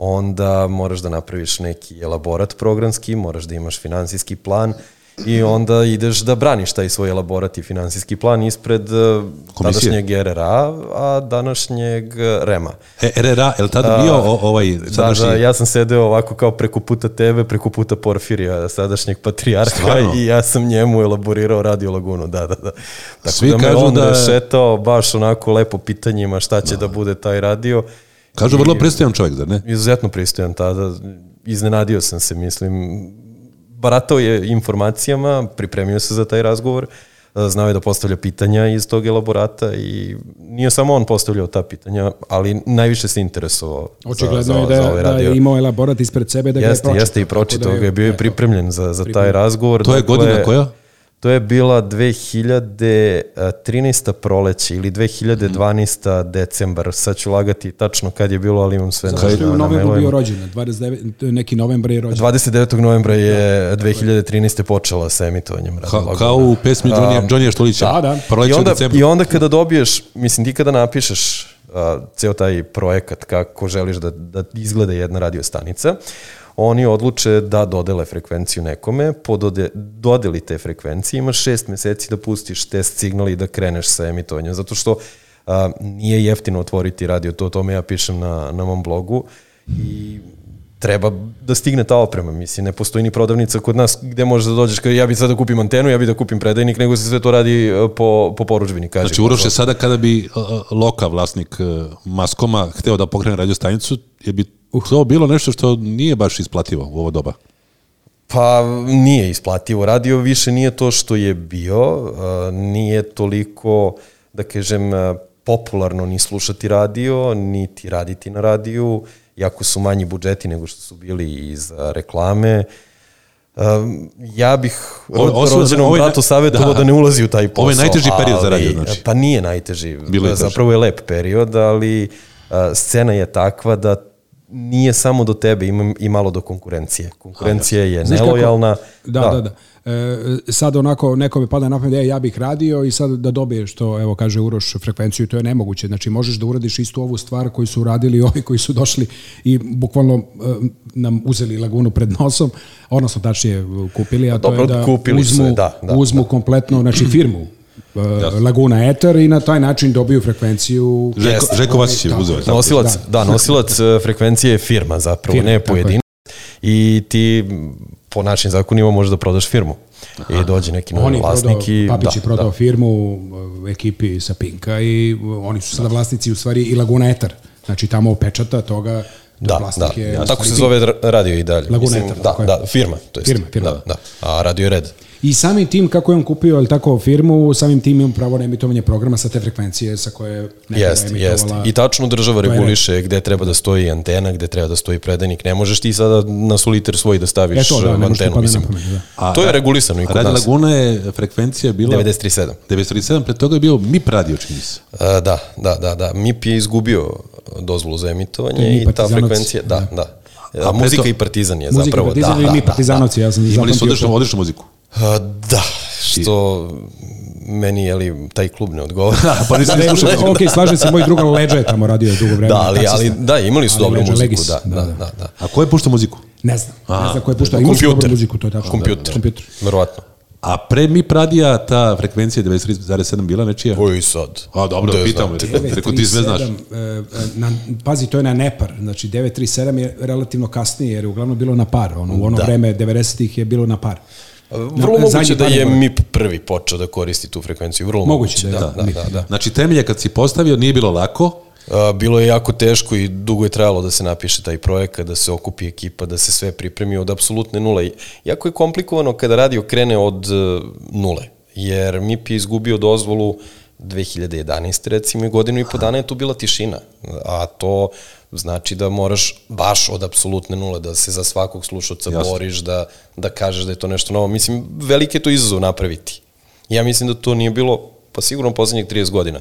onda moraš da napraviš neki elaborat programski, moraš da imaš finansijski plan i onda ideš da braniš taj svoj elaborat i finansijski plan ispred Komisije.
Komisije.
današnjeg RRA, a današnjeg REMA.
E, RRA, je li tada bio o, ovaj
Da,
sadašnji?
da, ja sam sedeo ovako kao preko puta tebe, preko puta Porfirija, sadašnjeg patrijarha
Stvarno?
i ja sam njemu elaborirao Radio Lagunu, da, da, da. Tako
Svi
da me
kažu
on
da je-
rešetao baš onako lepo pitanjima šta će da, da bude taj radio.
Kažu, vrlo predstavljan čovjek, zar ne?
Izuzetno pristojan tada, iznenadio sam se, mislim, baratao je informacijama, pripremio se za taj razgovor, znao je da postavlja pitanja iz tog elaborata i nije samo on postavljao ta pitanja, ali najviše se interesovao
Očigledno
za, za,
je da,
za ovaj
da
radio.
je imao elaborat ispred sebe da ga je
jeste,
pročitao.
jeste i pročitao
Tako da
ga, je, bio je
eto.
pripremljen za, za taj razgovor. Dakle,
To je godina koja?
To je bila 2013. proleće ili 2012. decembar. Sad ću lagati tačno kad je bilo, ali imam sve
Zato što je
na,
u
na
novembru bio
mailovima.
rođen, 29, neki novembar je rođen.
29. novembra je 2013. počela sa emitovanjem
Da,
Radio
Ka,
Laguna. Da.
kao u pesmi Johnny, Johnny Štolića.
da, da.
Proleće
I onda,
decembra.
I onda kada dobiješ, mislim ti kada napišeš a, ceo taj projekat kako želiš da, da izgleda jedna radiostanica, oni odluče da dodele frekvenciju nekome, po dode, dodeli te frekvencije, imaš šest meseci da pustiš test signal i da kreneš sa emitovanjem, zato što a, nije jeftino otvoriti radio, to o tome ja pišem na, na mom blogu i treba da stigne ta oprema, mislim, ne postoji ni prodavnica kod nas gde možeš da dođeš, kao ja bi sad da kupim antenu, ja bi da kupim predajnik, nego se sve to radi e, po, po poručbini, kaže.
Znači, Uroš je sada kada bi uh, Loka, vlasnik uh, Maskoma, hteo da pokrene radiostanicu, je bi to bilo nešto što nije baš isplativo u ovo doba.
Pa nije isplativo. Radio više nije to što je bio, e, nije toliko, da kažem, e, popularno ni slušati radio, niti raditi na radiju, jako su manji budžeti nego što su bili i za reklame. E, Ja bih
Ovo- ovo su-
ro- rođenom
ovo je naj-
bratu savjetovao
da.
da ne ulazi u taj posao.
Ovo je najteži period za radio,
ali-
znači.
Pa nije najteži.
Bilo je teže.
Zapravo je lep period, ali a, scena je takva da nije samo do tebe, ima i malo do konkurencije. Konkurencija je
Znaš kako-
nelojalna.
Da, da, da. E, sad onako nekome pada na pamet, e, ja bih radio i sad da dobiješ to, evo kaže Uroš, frekvenciju, to je nemoguće. Znači možeš da uradiš istu ovu stvar koju su uradili ovi koji su došli i bukvalno e, nam uzeli lagunu pred nosom, odnosno tačnije e, kupili, a to
Dobro,
je da
kupili su je,
uzmu,
da, da,
uzmu kompletno znači, firmu e, Laguna Eter i na taj način dobiju frekvenciju
Žeko,
Jeste.
Žeko Vasić je
Tako
uzeo.
je.
tako.
Nosilac, da, nosilac e, frekvencije je firma zapravo,
Firma,
ne
tako je.
pojedinac. I ti m, po našim zakonima možeš da prodaš firmu. I dođe neki
On
novi
je prodao,
vlasnik i...
Papić
da,
je prodao firmu e, ekipi sa Pinka i e, oni su sada vlasnici u stvari i Laguna Eter. Znači tamo pečata toga, da,
Da,
vlasnik
da,
je... u
da, tako
stvari
se
Pink.
zove ra- radio i dalje.
Laguna
Mislim,
Eter,
da,
tako je.
da, firma, to jest.
Firma, firma.
Da, da, a radio je red.
I samim tim kako je on kupio jel tako, firmu, samim tim imam pravo na emitovanje programa sa te frekvencije sa koje nekada
Jeste,
je
jeste.
emitovala.
I tačno država
je red.
reguliše gde treba da stoji antena, gde treba da stoji predajnik. Ne možeš ti sada na soliter svoj da staviš
E to, da, ne
uh,
možeš
antenu.
ti padne na
Mislim.
pamet, da.
A,
to je
da.
regulisano i kod
Radio
nas.
Laguna je frekvencija bila
93.7.
97, pred toga je bio MIP radio, čini se.
A, Da, da, da, da. MIP je izgubio dozvolu
To
za
je
emitovanje
MIP
i ta
Partizanac.
frekvencija, da, da. A,
A
muzika
preto-
i partizan je
Muzika i
zapravo,
partizan
da,
i
da,
mi
da,
partizanovci, ja sam
Imali su
zapamtio
odličnu,
to.
odličnu muziku.
A, Da, što meni je li taj klub ne
Da,
odgovara.
Pa nisam ni
Ne,
slušao.
ok, slažem se, moj druga Leđa je tamo radio dugo vremena.
Da, ali, ali
taksista.
da, imali su
Ali
dobru
Leđa
muziku,
Legis,
da, da,
da,
da, da.
A ko je puštao muziku?
Ne znam, ne znam ko je puštao. Imao su dobru
Kompjuter.
muziku, to je tačno.
Kompjuter.
Kompjuter.
Verovatno.
A pre MIP radija ta frekvencija 93,7 bila nečija?
Koji sad?
A dobro,
Gde
pitam.
znam?
rekao- Rekao ti sve znaš.
937, e, e, na, pazi, to je na nepar. Znači, 937 je relativno kasnije, jer je uglavnom bilo na par. Ono, u ono da. vreme 90-ih je bilo na par.
Vrlo
Na- zadnji
moguće da
par
je
godina.
MIP prvi počeo da koristi tu frekvenciju. Vrlo
Moguće
moguće,
da je
da, da,
MIP,
da, da.
Znači, temelje kad si postavio nije bilo lako,
A, Bilo je jako teško i dugo je trajalo da se napiše taj projekat, da se okupi ekipa, da se sve pripremi od apsolutne nule. I Jako je komplikovano kada radio krene od e, nule, jer MIP je izgubio dozvolu 2011. recimo i godinu i po dana je tu bila tišina, a to znači da moraš baš od apsolutne nule da se za svakog slušalca
Jasno.
boriš, da, da kažeš da je to nešto novo. Mislim, veliki je to izazov napraviti. Ja mislim da to nije bilo, pa sigurno poslednjih 30 godina.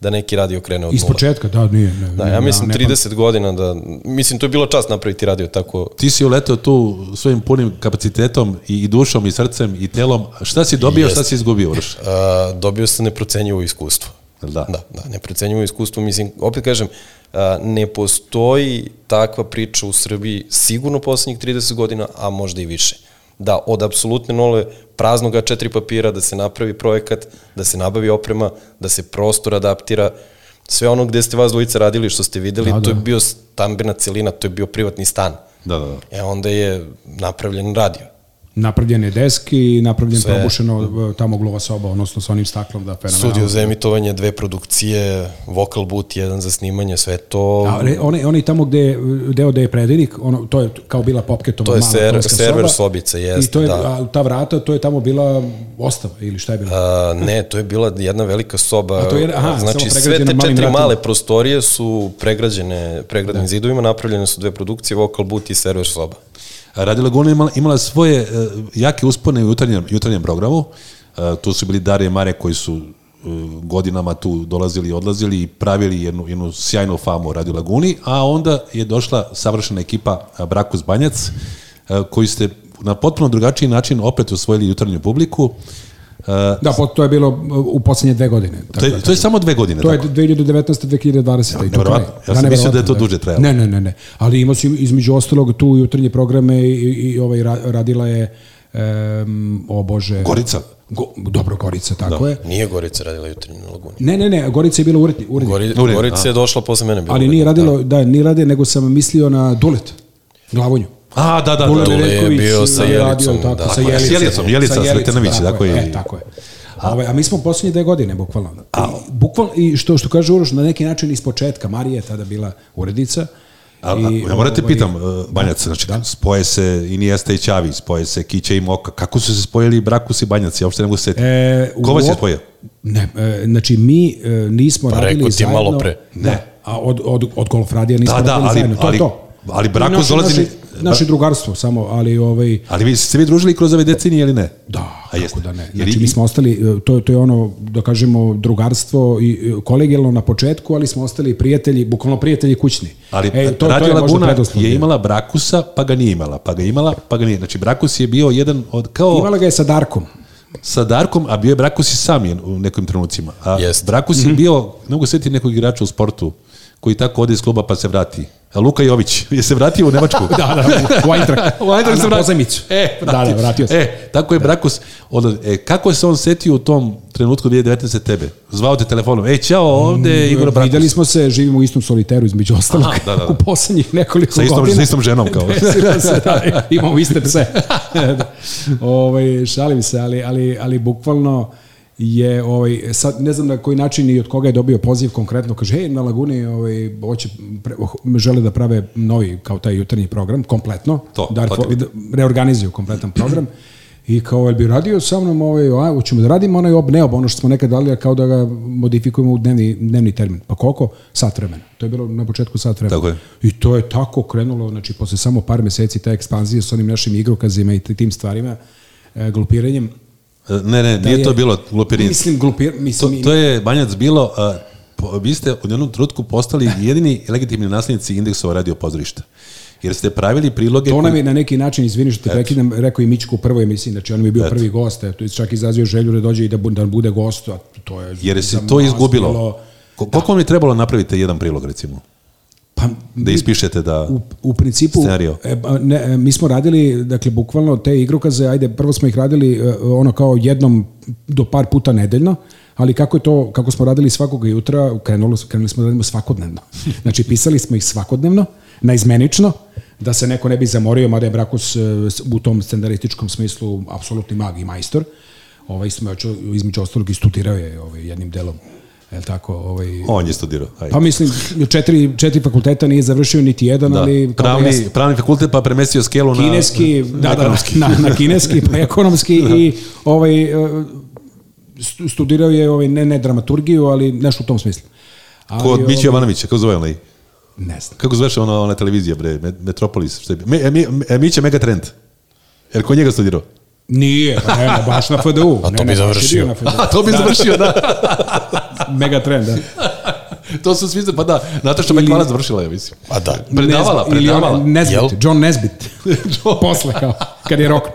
da neki radio krene od
Iz
nula.
početka, da, nije. Ne,
Da,
ne,
ja mislim
ne pamtim.
30 godina da, mislim to je bila čast napraviti radio tako
Ti si uleteo tu svojim punim kapacitetom i, i dušom i srcem i telom. Šta si dobio, šta si izgubio, Uroš?
a, Uh, dobio sam neprocenjivo iskustvo.
Jel da?
Da, da, neprocenjivo iskustvo. Mislim, opet kažem, a, ne postoji takva priča u Srbiji sigurno poslednjih 30 godina, a možda i više. Da, od apsolutne nole praznoga četiri papira, da se napravi projekat, da se nabavi oprema, da se prostor adaptira, sve ono gde ste vas dvojica radili, što ste videli, da,
Da,
da. to je
da.
bio stambena celina, to je bio privatni stan.
Da, da, da.
E onda je napravljen radio.
Napravljen je desk i napravljen
Sve.
Sve. probušeno e, ta moglova soba, odnosno sa onim staklom da fenomenalno.
Studio za emitovanje, dve produkcije, vokal boot, jedan za snimanje, sve to.
A, re, onaj, onaj tamo gde je deo gde je predenik, ono, to je kao bila popketova
To je
mala
ser-
hotelska
server
soba,
sobica, jeste,
I to je,
da.
a, ta vrata, to je tamo bila ostava ili šta je bilo?
A, ne, to je bila jedna velika soba.
A to je- aha,
znači
samo
sve te
pregrađena malim
četiri
vratima.
male prostorije su pregrađene pregradnim da. zidovima, napravljene su dve produkcije, vokal boot i server soba.
A Radio Laguna imala, imala svoje e, jake uspone u jutarnjem, jutarnjem programu. E, tu su bili Darije Mare koji su e, godinama tu dolazili i odlazili i pravili jednu, jednu sjajnu famu u Radio Laguni, a onda je došla savršena ekipa e, Brakus Banjac, e, koji ste na potpuno drugačiji način opet osvojili jutarnju publiku. E,
Da, po, to je bilo e, u poslednje dve godine. Tako, da.
to, je, to je samo dve godine.
To je
tako?
2019. 2020. i to
nevjerovatno.
traje.
Ja sam mislio da je to
nevjerovatno,
duže trajalo.
Ne, ne, ne, ne. Ali imao si između ostalog tu jutarnje programe i, i, i ovaj, ra- radila je um, o Bože...
Gorica.
Go, dobro, Gorica, tako da. je.
Nije Gorica radila jutarnju na laguni.
Ne, ne, ne, Gorica je bila urednik. urednik.
Gori,
Uredno,
Gorica je došla posle mene. bila
ali nije
uredno.
radilo, da, nije rade, nego sam mislio na Dulet, Glavonju.
A, da, da, da.
Dule
da.
je
Bereković
bio sa
radio,
Jelicom,
tako,
da.
sa
Tako je,
s
Jelicom,
Jelicom,
Pa
Jelica
sa Jelicom,
Sretenović, tako je.
E, tako je. A, ovaj, a mi smo poslednje dve godine, bukvalno. I, bukvalno, i što, što kaže Uroš, na neki način iz početka. Marija je tada bila urednica.
A, a, ja morate
ovaj,
pitam, e, Banjac, znači, spoje se Iniesta i Ćavi, spoje se Kića i Moka, kako su se spojili Brakus i Banjac, ja uopšte ne mogu se setiti.
E, u
Ko vas je
op-
spojio?
Ne, e, znači mi e, nismo
Pa
radili
rekao ti je
zajedno.
malo pre.
Ne. A od, od, od golf radija nismo
Da, da,
radili
ali-
zajedno, to
ali-
je to.
ali Brako
I naše-
dolazi-
Naše, naše drugarstvo samo, ali ovaj...
Ali vi ste se vi družili kroz ove decenije ili ne?
Da,
A jeste.
kako da ne.
Jer
Znači,
i-
mi smo ostali, e, to, to je ono, da kažemo, drugarstvo i e, kolegijalno na početku, ali smo ostali prijatelji, bukvalno prijatelji kućni.
Ali
E,
to, Radio
možda
Laguna
preduslov
je
bio.
imala Brakusa, pa ga nije imala, pa ga je imala, pa ga nije. Znači, Brakus je bio jedan od, kao
Imala ga je sa Darkom.
sa Darkom, a bio je Brakus i sam je u nekim trenucima. A
Jeste.
Brakus
Mhm.
je bio, ne mogu setiti nekog igrača u sportu, koji tako ode iz kluba pa se vrati. A Luka Jović je se vratio u Nemačku.
Da, da, u Eintracht.
U Eintracht se
A, Na
vrati-
pozajmicu.
E,
da, da, vratio se.
E, tako je Brakus. Od, e, kako je se on setio u tom trenutku 2019. tebe? Zvao te telefonom. E, čao, ovde je Igor Brakus.
Mm, Videli smo se, živimo u istom soliteru između ostalog, Aha, da, da, da. u poslednjih nekoliko
sa istom,
godina.
sa istom ženom kao. E,
Desilo se, da, imamo iste pse. da. ovaj, šalim se, ali, ali, ali bukvalno je, ovaj, sad ne znam na koji način i od koga je dobio poziv konkretno, kaže, hej, na Laguni ovaj, hoće, pre, žele da prave novi, kao taj jutarnji program, kompletno,
To,
da,
to ti-
da reorganizuju kompletan program, I kao, jel bi radio sa mnom, ovaj, a, hoćemo da radimo onaj ob, ne ob, ono što smo nekad dali, kao da ga modifikujemo u dnevni, dnevni termin. Pa koliko? Sat vremena. To je bilo na početku sat vremena.
Tako je.
I to je tako krenulo, znači posle samo par meseci ta ekspanzija sa onim našim igrokazima i tim stvarima, e, glupiranjem.
E, Ne, ne, nije
Da je-
to bilo Lupirin.
Mislim, glupir, mislim,
To, to je Banjac bilo, a, po- vi ste u jednom trenutku postali jedini legitimni naslednici indeksova radio pozorišta. Jer ste pravili priloge...
To
koji-
nam je na neki način, izvini što te prekidam, rekao i Mičko u prvoj emisiji, znači on mi je bio prvi gost, eto, i čak izrazio želju da dođe i da, bu- da bude gost, a to je...
Jer
za
se to
nas
izgubilo.
bilo-
Ko- Koliko vam je trebalo napraviti jedan prilog, recimo?
Pa,
Da ispišete da...
u, u principu
Scenario.
E, ba, ne, e, mi smo radili dakle bukvalno te igrokaze ajde prvo smo ih radili e, ono kao jednom do par puta nedeljno ali kako je to kako smo radili svakog jutra krenulo krenuli smo da radimo svakodnevno znači pisali smo ih svakodnevno naizmenično da se neko ne bi zamorio mada je Brakus e, s- u tom standardističkom smislu apsolutni mag i majstor ovaj smo između ostalog i studirao je ovaj jednim delom je tako ovaj
On je studirao. Ajde.
Pa mislim, četiri, četiri fakulteta nije završio niti jedan, da, ali... kao da jeste.
pravni, pravni fakultet pa premestio skelu na...
kineski, da, da,
ekonomski. Da.
na, na kineski, pa ekonomski i ovaj, e, stu- studirao je ovaj, ne, ne dramaturgiju, ali nešto u tom smislu. Ali, ovaj,
Ko od Mića Jovanovića, kako zove onaj?
Ne znam.
Kako zoveš ona, ona televizija, bre, Met- Metropolis, što je bio? Me, mi, e, Mića Megatrend. Jer ko je njega studirao?
Nije, pa ne, ne, baš na FDU.
A
ne, ne,
to bi
baš je
završio.
bio na FDU.
A to bi završio, da.
mega trend, da.
to su svi, pa da, Nataša
Ili-
Mekvalac završila je, mislim.
Pa da.
Predavala,
Nesbit- ili on-
predavala.
Nesbit,
Jel?
John Nesbit. Posle kao, kad je roknu.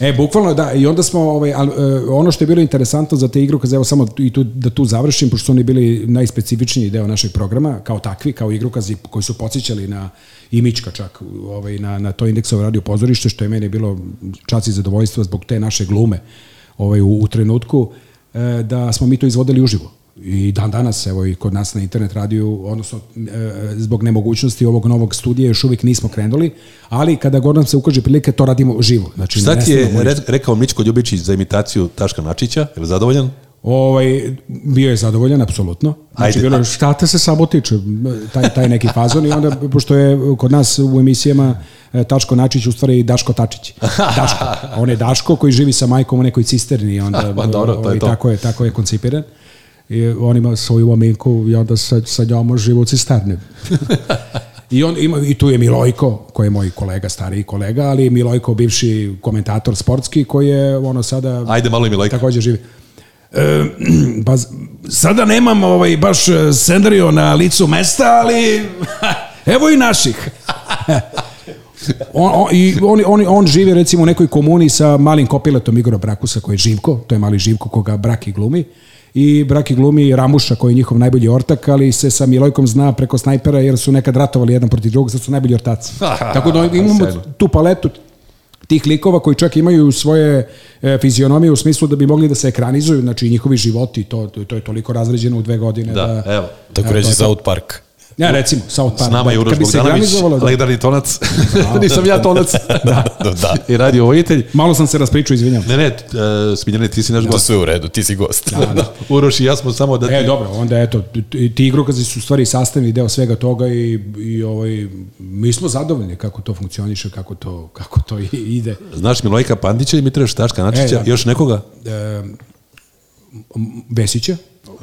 E, bukvalno da, i onda smo, ovaj, al, e, ono što je bilo interesantno za te igrukaze, evo samo i tu, da tu završim, pošto su oni bili najspecifičniji deo našeg programa, kao takvi, kao igrukazi koji su podsjećali na imička čak, ovaj, na, na to indeksovo radio pozorište, što je meni bilo čast i zadovoljstvo zbog te naše glume ovaj, u, u trenutku, e, da smo mi to izvodili uživo. I dan danas, evo i kod nas na internet radiju, odnosno e, zbog nemogućnosti ovog novog studija još uvijek nismo krenuli, ali kada god nam se ukaže prilike, to radimo živo. Znači,
Šta
ne
ti je
snimamo
re- rekao Mičko Ljubičić za imitaciju Taška Načića? Je li zadovoljan?
Ovaj, bio je zadovoljan, apsolutno. Znači,
Ajde,
bilo je,
a-
šta te se sabotiče, taj, taj neki fazon i onda, pošto je kod nas u emisijama e, Tačko Načić, u stvari Daško Tačić. Daško. On je Daško koji živi sa majkom u nekoj cisterni i onda
Pa dobro, to je
ovaj,
to.
tako, je, tako je koncipiran. I on ima svoju ominku i onda sa, sa njom živi u cisterni. I, on, ima, I tu je Milojko, koji je moj kolega, stariji kolega, ali Milojko, bivši komentator sportski, koji je ono sada
Ajde, malo i Milojka.
takođe živi. E, pa z- sada nemam ovaj baš e, scenario na licu mesta, ali evo i naših. On, on, i on, on, on živi recimo u nekoj komuni sa malim kopiletom Igora Brakusa koji je Živko, to je mali Živko koga Braki glumi i Braki glumi Ramuša koji je njihov najbolji ortak, ali se sa Milojkom zna preko snajpera jer su nekad ratovali jedan protiv drugog, sad su najbolji ortaci. Tako da imamo
Sjajno.
tu paletu tih likova koji čak imaju svoje e, fizionomije u smislu da bi mogli da se ekranizuju, znači i njihovi životi, to, to, to je toliko razređeno u dve godine. Da,
Da, evo.
Tako
Evo,
reći
to je to.
South Park.
Ja, recimo, South Park.
S nama je
da,
Uroš
kad bi se
Bogdanović,
ekranizovalo, da.
legendarni tonac. Nisam ja tonac.
Da, da, da.
I radio vojitelj.
Malo sam se raspričao, izvinjam.
Ne, ne, t- e, Smiljane, ti si naš
To
gost.
sve u redu, ti si gost. Da, da.
Uroš i ja smo samo da ti...
E, dobro, onda eto, ti- ti igrokazi su u stvari sastavni deo svega toga i, i ovaj, mi smo zadovoljni kako to funkcioniše, kako to, kako to i- ide.
Znaš Milojka Pandića, Dimitrija Štaška,
E,
Načića,
da.
još nekoga?
E, m- Vesića,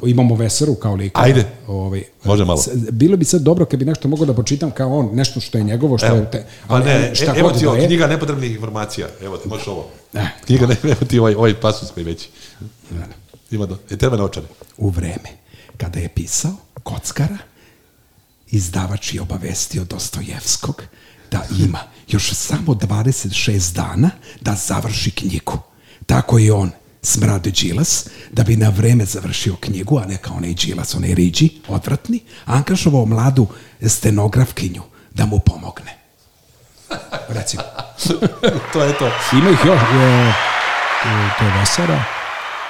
imamo Veseru kao lika.
Ajde.
Ovaj,
Može malo.
S- Bilo bi sad dobro kad bi nešto mogao da pročitam kao on, nešto što je njegovo, što
Evo,
je... Te,
pa ne,
šta
evo
god
ti
da
ovo,
je. E.
knjiga nepotrebnih informacija. Evo ti, možeš ovo. Knjiga, ne, evo ti ovaj, ovaj pasus koji je veći. Ima do, e, treba na očare.
U vreme kada je pisao Kockara, izdavač je obavestio Dostojevskog da ima još samo 26 dana da završi knjigu. Tako i on, smrade Đilas, da bi na vreme završio knjigu, a ne kao onaj Đilas, onaj Riđi, odvratni, angažovao mladu stenografkinju da mu pomogne. Recimo.
to je to.
Ima ih još. e, to je Vesara.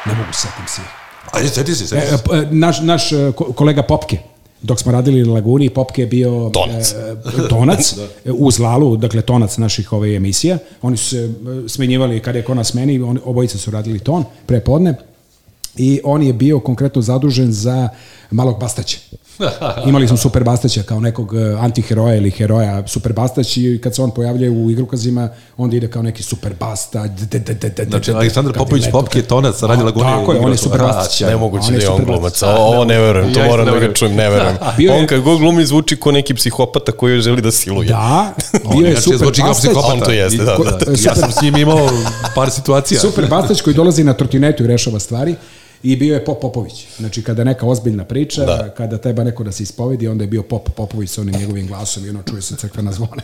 Ne mogu setim svih.
Ajde, seti se,
E,
seti
e,
se.
p- e, naš, naš e, ko- kolega Popke, dok smo radili na Laguni, Popke je bio
Tonac.
e, e, tonac
Da.
e, u Zlalu, dakle tonac naših ove emisija. Oni su se e, smenjivali kada je kona smeni, oni, obojica su radili ton pre podne i on je bio konkretno zadužen za malog Bastaća. Imali smo Super Bastaća kao nekog e, antiheroja ili heroja Super Bastać i kad se on pojavlja u igrokazima, onda ide kao neki Super Basta. de, de, de, de,
Znači,
de, de,
Aleksandar
kad je
Popović
leto,
Popke je
kad-
tonac, radi
A,
Lagune.
Tako je, on je
igrao
Super
to.
Bastać.
A,
Nemoguće da je on
super
glumac.
glumac.
a Ovo ne verujem, to
Ja isto
moram
ne
da ga
verujem.
čujem, ne verujem.
bio je-
On kad god glumi zvuči kao neki psihopata koji želi da siluje.
Da, bio je
Inače,
super
zvuči kao
Bastać.
psihopata.
On to jeste, da,
I-
da.
Ja sam s njim imao par situacija.
Super Bastać koji dolazi na trotinetu i rešava stvari i bio je Pop Popović. Znači, kada je neka ozbiljna priča, da. kada treba neko da se ispovedi, onda je bio Pop Popović sa onim njegovim glasom i ono čuje se crkvena zvone.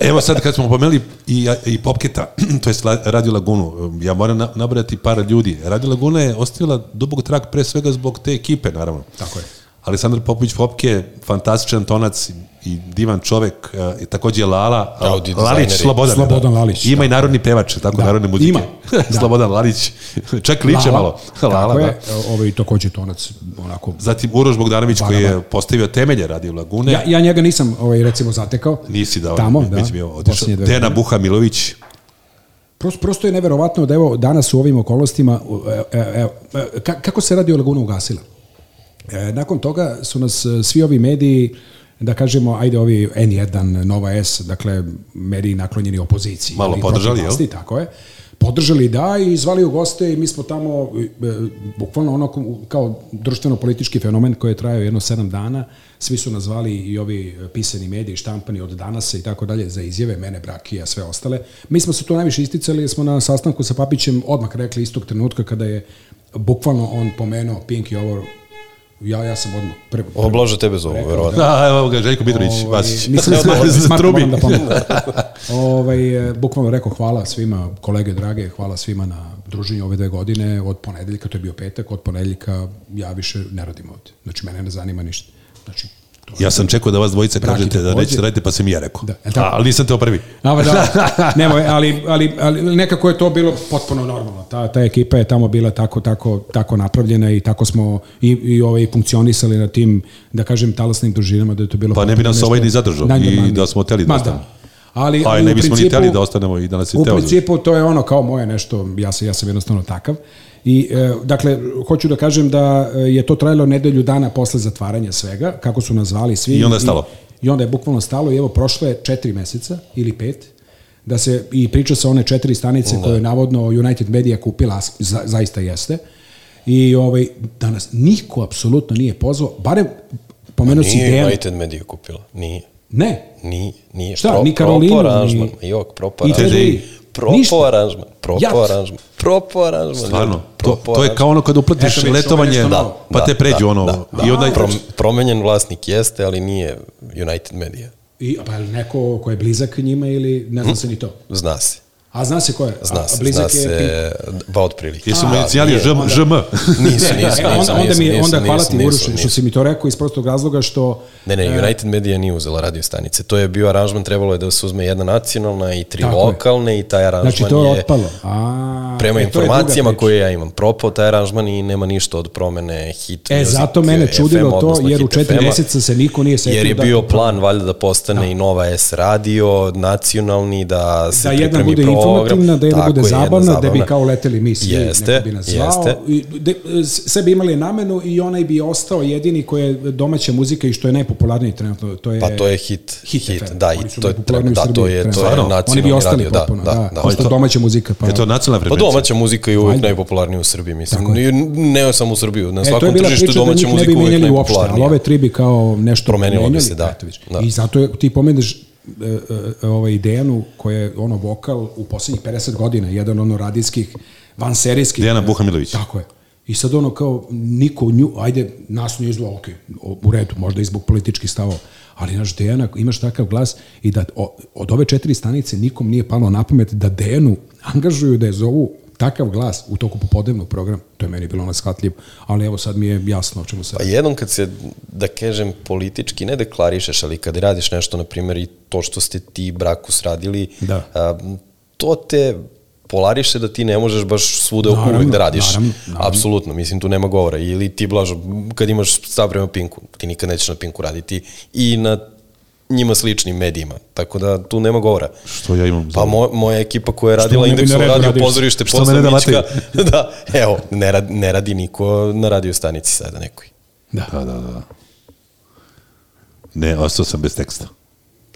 Evo sad kad smo pomenuli i, i Popketa, to je Radio Lagunu, um, ja moram na- nabrati par ljudi. Radio Laguna je ostavila dubog trak pre svega zbog te ekipe, naravno.
Tako je.
Aleksandar Popović Popke je fantastičan tonac i divan čovek, e, i takođe je Lala, uh,
Audi
Lalić,
dizajneri.
Slobodan.
Da, Slobodan Lalić,
Ima i narodni pevač, tako da. narodne muzike.
Ima. Da.
Slobodan Lalić, čak liče malo. Lala,
Tako
da.
je, ovo je takođe tonac, onako...
Zatim Uroš Bogdanović koji je
Banama.
postavio temelje Radio Lagune.
da. Ja, ja njega nisam ovaj, recimo zatekao.
Nisi dao.
Tamo,
već
da.
je bio otišao.
Posljednje dve
Dejana Buha Milović,
Prosto, prosto je neverovatno da evo danas u ovim okolnostima, e, e, e, ka- kako se radi o Laguna ugasila? E, Nakon toga su nas e, svi ovi mediji, da kažemo, ajde ovi N1, Nova S, dakle mediji naklonjeni opoziciji.
Malo
ali
podržali,
protiv
jel?
vlasti, Tako je. Podržali da i zvali u goste i mi smo tamo, e, bukvalno ono ko- kao društveno-politički fenomen koji je trajao jedno sedam dana, svi su nazvali i ovi e, pisani mediji, štampani od danasa i tako dalje za izjave, mene, Brakija, sve ostale. Mi smo se tu najviše isticali jer smo na sastanku sa Papićem odmah rekli istog trenutka kada je
bukvalno on pomenuo Pink i ovo, ja, ja sam odmah prvo.
Oblaže tebe zovu, verovatno.
Da, evo ga, Željko Mitrović,
Ovaj,
Vasić.
Nisam
Evo,
sve
iz
smart
trubi.
moram da pomenem. ovaj, e, bukvalno rekao hvala svima, kolege drage, hvala svima na druženju ove dve godine. Od ponedeljka, to je bio petak, od ponedeljka ja više ne radim ovde. Znači, mene ne zanima ništa. Znači, to je-
Ja sam čekao da vas dvojice
Braki
kažete da
takođe.
nećete raditi, pa sam i ja rekao.
Da, je li
A,
tako?
ali nisam teo prvi.
Ava, da, nemoj, ali, ali, ali nekako je to bilo potpuno normalno. Ta, ta ekipa je tamo bila tako, tako, tako napravljena i tako smo i, i ovaj, funkcionisali na tim, da kažem, talasnim družinama da je to bilo...
Pa ne bi
potpuno
nas
nešto
ovaj ni zadržao i
najnormalnije.
da smo hteli da
Ma
ostanemo.
Ali,
Pa i
u
ne bismo ni
principu-
hteli da ostanemo i da nas je
U
teo.
principu to je ono kao moje nešto, ja, se, ja sam jednostavno takav. I, e, dakle, hoću da kažem da e, je to trajalo nedelju dana posle zatvaranja svega, kako su nas zvali svi.
I onda je stalo.
I, I onda je bukvalno stalo i evo prošlo je četiri meseca ili pet, da se i priča sa one četiri stanice koje je navodno United Media kupila, a za, zaista jeste. I ovaj, danas niko apsolutno nije pozvao, barem pomenuo
Pa
si
Nije
Dejan.
United Media kupila, nije.
Ne,
Nije, nije.
Šta, ni Karolinu,
Propo
ni-
aranžman, jok, propo
I
aranžman.
TDI.
Propo
Ništa.
aranžman, propo
Jat.
aranžman, propo aranžman.
Stvarno,
ljudi,
to,
propo
to je
aranžman.
kao ono kad uplatiš
Eto, vidiš, ovo je
letovanje,
nešto
novo.
pa te
Da,
pređu
da,
ono,
da,
i onda...
Prom, promenjen vlasnik jeste, ali nije United Media.
I, pa je li neko ko je blizak njima ili ne
Hm.
zna se ni to?
Zna se.
A zna se ko je?
Zna
a,
se,
blizak
zna
je Pink. E,
se, ba otprilike.
Jesu mu
Da,
inicijali
nije.
ŽM, ŽM.
Nisu, nisu,
E,
nisu,
e, onda, onda mi je,
nisu,
onda
nisu,
hvala ti
nisu,
Uroš što
nisu.
si E. mi to rekao iz prostog razloga što
Ne, ne, United Media nije uzela radio stanice. To je bio aranžman, trebalo je da se uzme jedna nacionalna i tri
Tako je.
lokalne i taj aranžman
znači to je
je
otpalo. A,
prema
e, to je druga
informacijama
priča.
koje ja imam propao taj aranžman i nema ništa od promene hit
E,
music,
zato mene
FM,
čudilo to,
odnosno
jer u
hit
četiri
FM-a,
meseca se niko nije setio
jer je
da-
bio plan valjda da postane i Nova S radio, nacionalni, da se
da jedna
pripremi
bude
program.
informativna, da jedna
Tako
bude
je, jedna
zabavna, da bi kao leteli mi svi,
Jeste,
neko bi nas zvao.
jeste.
I, de, s- sve bi imali namenu i onaj bi ostao jedini koji je domaća muzika i što je najpopularniji trenutno. To je,
Pa to je hit,
Hit,
hit,
FM.
da,
Oni
i
su
to je,
najpopularniji u
da, to
Srbiji
je, to je
trenutno.
nacionalni
Oni bi ostali
radio,
potpuno,
da, da, da.
pošto
to-
domaća muzika. Pa,
Je to nacionalna
Pa
frekvencija?
domaća muzika je uvijek
Ajde.
najpopularnija u Srbiji, mislim. Ne, ne samo u Srbiji, na
E, to je
svakom
bila
tržištu
priča da
domaća
njih ne
muzika
bi
je uvijek
menjali uopšte, ali
najpopularnija.
ove tri bi kao nešto
Promenilo bi
menjali,
se, da.
eto vidiš.
Da.
I zato je, ti pomeneš e, e, ovaj Dejanu koji je ono vokal u poslednjih 50 godina, jedan ono radijskih, vanserijskih.
Dejana Buhamilović.
Tako je. I sad ono kao niko nju, ajde, nas nije izvao, ok, u redu, možda i zbog političkih stavova, ali naš Dejana, imaš takav glas i da o- od ove četiri stanice nikom nije palo na pamet da Dejanu angažuju da je zovu takav glas u toku popodnevnog programa, to je meni bilo neshvatljivo, ali evo sad mi je jasno o čemu se...
Pa jednom kad se, da kažem, politički ne deklarišeš, ali kad radiš nešto, na primjer, i to što ste ti i Brakus radili,
Da.
a, to te polariše da ti ne možeš baš svuda
Naravno,
uvek da radiš.
naravno, naravno.
Apsolutno, mislim, tu nema govora. Ili ti, Blažo, kad imaš stav prema Pinku, ti nikad nećeš na Pinku raditi i na njima sličnim medijima. Tako da tu nema govora.
Što ja imam za-
Pa mo, moja ekipa koja je radila
ne bi
Indexu
na redu
radio
radiš?
pozorište
Što me ne da
Pozdravićka, da, evo, ne, rad, ne radi niko na radio stanici sada nekoj.
Da.
Da, da, da. Ne, ostao sam bez teksta.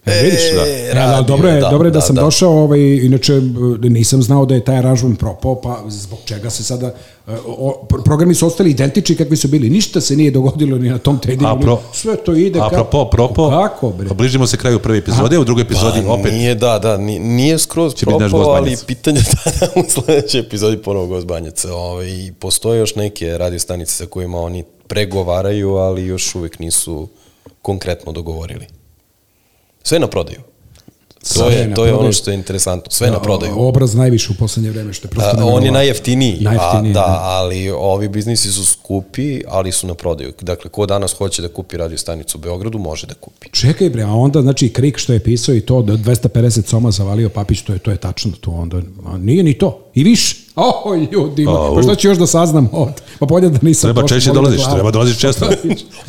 E, vidiš, da.
E,
E, da,
radio,
dobro je,
da,
da, dobro je da,
da,
sam
da.
došao, ovaj, inače b- nisam znao da je taj aranžman propao, pa zbog čega se sada, e, o, pro- programi su ostali identični kakvi su bili, ništa se nije dogodilo ni na tom tedinu,
Apro-
sve to ide ka-
Apropo, propo,
Kako, bre?
pa bližimo se kraju prve epizode, u drugoj epizodi
Pa,
opet
Nije, da, da, nije, nije skroz
biti naš
propao, ali
Gozbanjac.
pitanje da u sledećoj epizodi ponovo Gozbanjac. Ove, I postoje još neke radiostanice sa kojima oni pregovaraju, ali još uvek nisu konkretno dogovorili. Sve na prodaju. To
Sve
je,
na
to je ono
prodaju.
što je interesantno. Sve na prodaju.
O- Obraz najviše u poslednje vreme, što je prosto
A, on je
neverovatno.
najjeftiniji, najjeftiniji
Najjeftiniji,
a, da,
da.
ali ovi biznisi su skupi, ali su na prodaju. Dakle, ko danas hoće da kupi radiostanicu u Beogradu, može da kupi.
Čekaj bre, a onda znači krik što je pisao i to da 250 soma zavalio Papić, to je to je tačno to onda. A nije ni to. I viš. O, ljudi, ma,
Au.
pa šta ću još da saznam od? Pa bolje da nisam.
Treba
došao,
češće
bolje da
dolaziš,
glavu.
treba dolaziš često.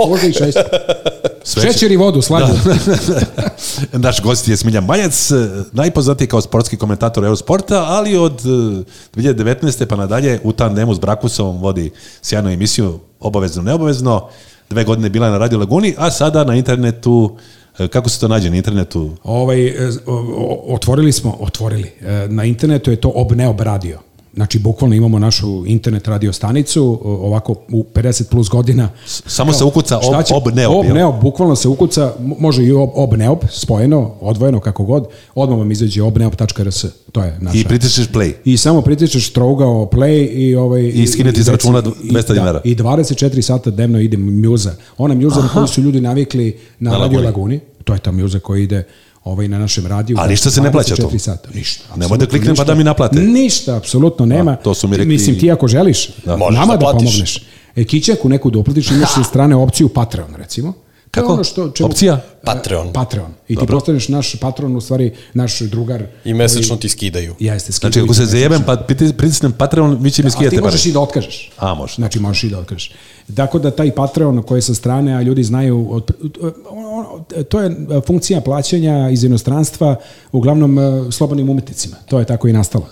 Možda i šest.
će-
Šećer i vodu, sladko.
Da. Naš gost je Smiljan Maljac, eh, najpoznatiji kao sportski komentator Eurosporta, ali od eh, 2019. pa nadalje u tandemu s Brakusovom vodi sjajnu emisiju, obavezno, neobavezno. Dve godine je bila na Radio Laguni, a sada na internetu, eh, kako se to nađe na internetu?
Ovaj, e, o- o- otvorili smo, otvorili. E, Na internetu je to Obneob radio. Znači, bukvalno imamo našu internet radio stanicu, ovako u 50 plus godina.
Samo se ukuca ob-
šta
obneob,
Ob,
jel?
neob, bukvalno se ukuca, mo- može i ob, ob neob, spojeno, odvojeno, kako god. Odmah vam izađe obneob.rs. To je naša.
I pritisneš play.
I samo pritičeš trougao play i ovaj
I skinete iz
deci-
računa 200
i-
dinara.
Da, I 24 sata dnevno ide mjuza. Ona mjuza na koju su ljudi navikli na,
Na
radio
Laguni.
Laguni. To je ta mjuza koja ide ovaj na našem radiju.
A ništa se ne plaća to?
24 Sata. Ništa.
Nemoj da
apsolutno
kliknem pa
ništa.
da mi naplate.
Ništa, apsolutno nema.
A, to su mi rekli-
Mislim ti ako želiš, da.
Možeš
nama
da
da,
platiš.
pomogneš. E, kićaku neku da uplatiš, imaš sa strane opciju Patreon recimo. To je
Kako?
ono što, čemu-
Opcija?
Patreon.
Patreon. I ti postaneš naš patron, u stvari naš drugar.
I mesečno ti skidaju.
Znači,
Jeste, skidaju
ako
ti
se
mesečno.
zajebem, pa piti- pritisnem Patreon, vi će mi
A ti
skijete pare.
možeš i da otkažeš.
A, može.
Znači možeš i da otkažeš. Tako da taj Patreon koji je sa strane, a ljudi znaju, od, on- on- to je funkcija plaćanja iz inostranstva uglavnom eh, slobodnim umetnicima. To je tako i nastalo.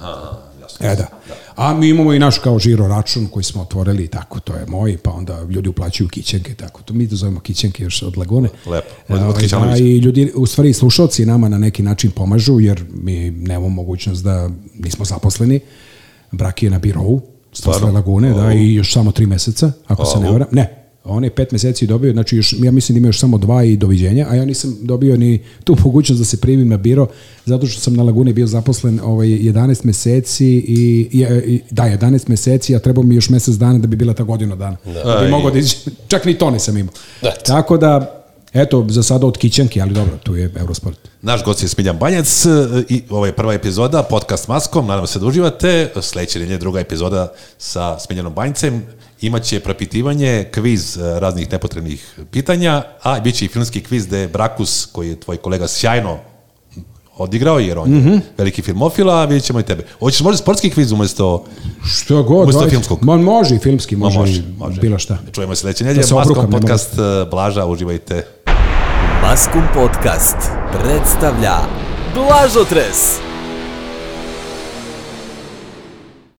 E da. A mi imamo i naš kao žiro račun koji smo otvorili i tako, to je moj, pa onda ljudi uplaćuju kićenke, i tako. To mi to zovemo kićenke još od Lagune.
Lepo. Od- od
E, ovaj,
Kićanovića.
da, I ljudi, u stvari slušalci nama na neki način pomažu, jer mi nemamo mogućnost da nismo zaposleni. Brak je na birovu, posle Lagune, da, i još samo tri meseca, ako se ne varam. Ne, on je pet meseci dobio, znači još, ja mislim da ima još samo dva i doviđenja, a ja nisam dobio ni tu mogućnost da se primim na biro, zato što sam na Laguni bio zaposlen ovaj, 11 meseci i, i, i da, 11 meseci, a trebao mi još mesec dana da bi bila ta godina dana. Da, bi
Aj.
mogao da iđe, čak ni to nisam imao.
Da.
Tako da, eto, za sada od kićenke, ali dobro, tu je Eurosport.
Naš gost je Smiljan Banjac e, i ovo je prva epizoda podcast Maskom, nadam se da uživate. Sledeće nedelje druga epizoda sa Smiljanom Banjcem. Imaće propitivanje, kviz e, raznih nepotrebnih pitanja, a bit će i filmski kviz gde je Brakus, koji je tvoj kolega sjajno odigrao, jer on je
Mhm.
veliki filmofil, a vidjet ćemo i tebe. Hoćeš možda sportski kviz umesto...
Što god,
Umesto
ajde.
filmskog.
Ma, može i filmski,
Ma,
može, može, bilo šta.
Čujemo se sledeće nedelje.
se
Maskom
obrukam, ne mogu.
podcast, e, Blaža, uživajte.
Maskum Podcast predstavlja Blažotres.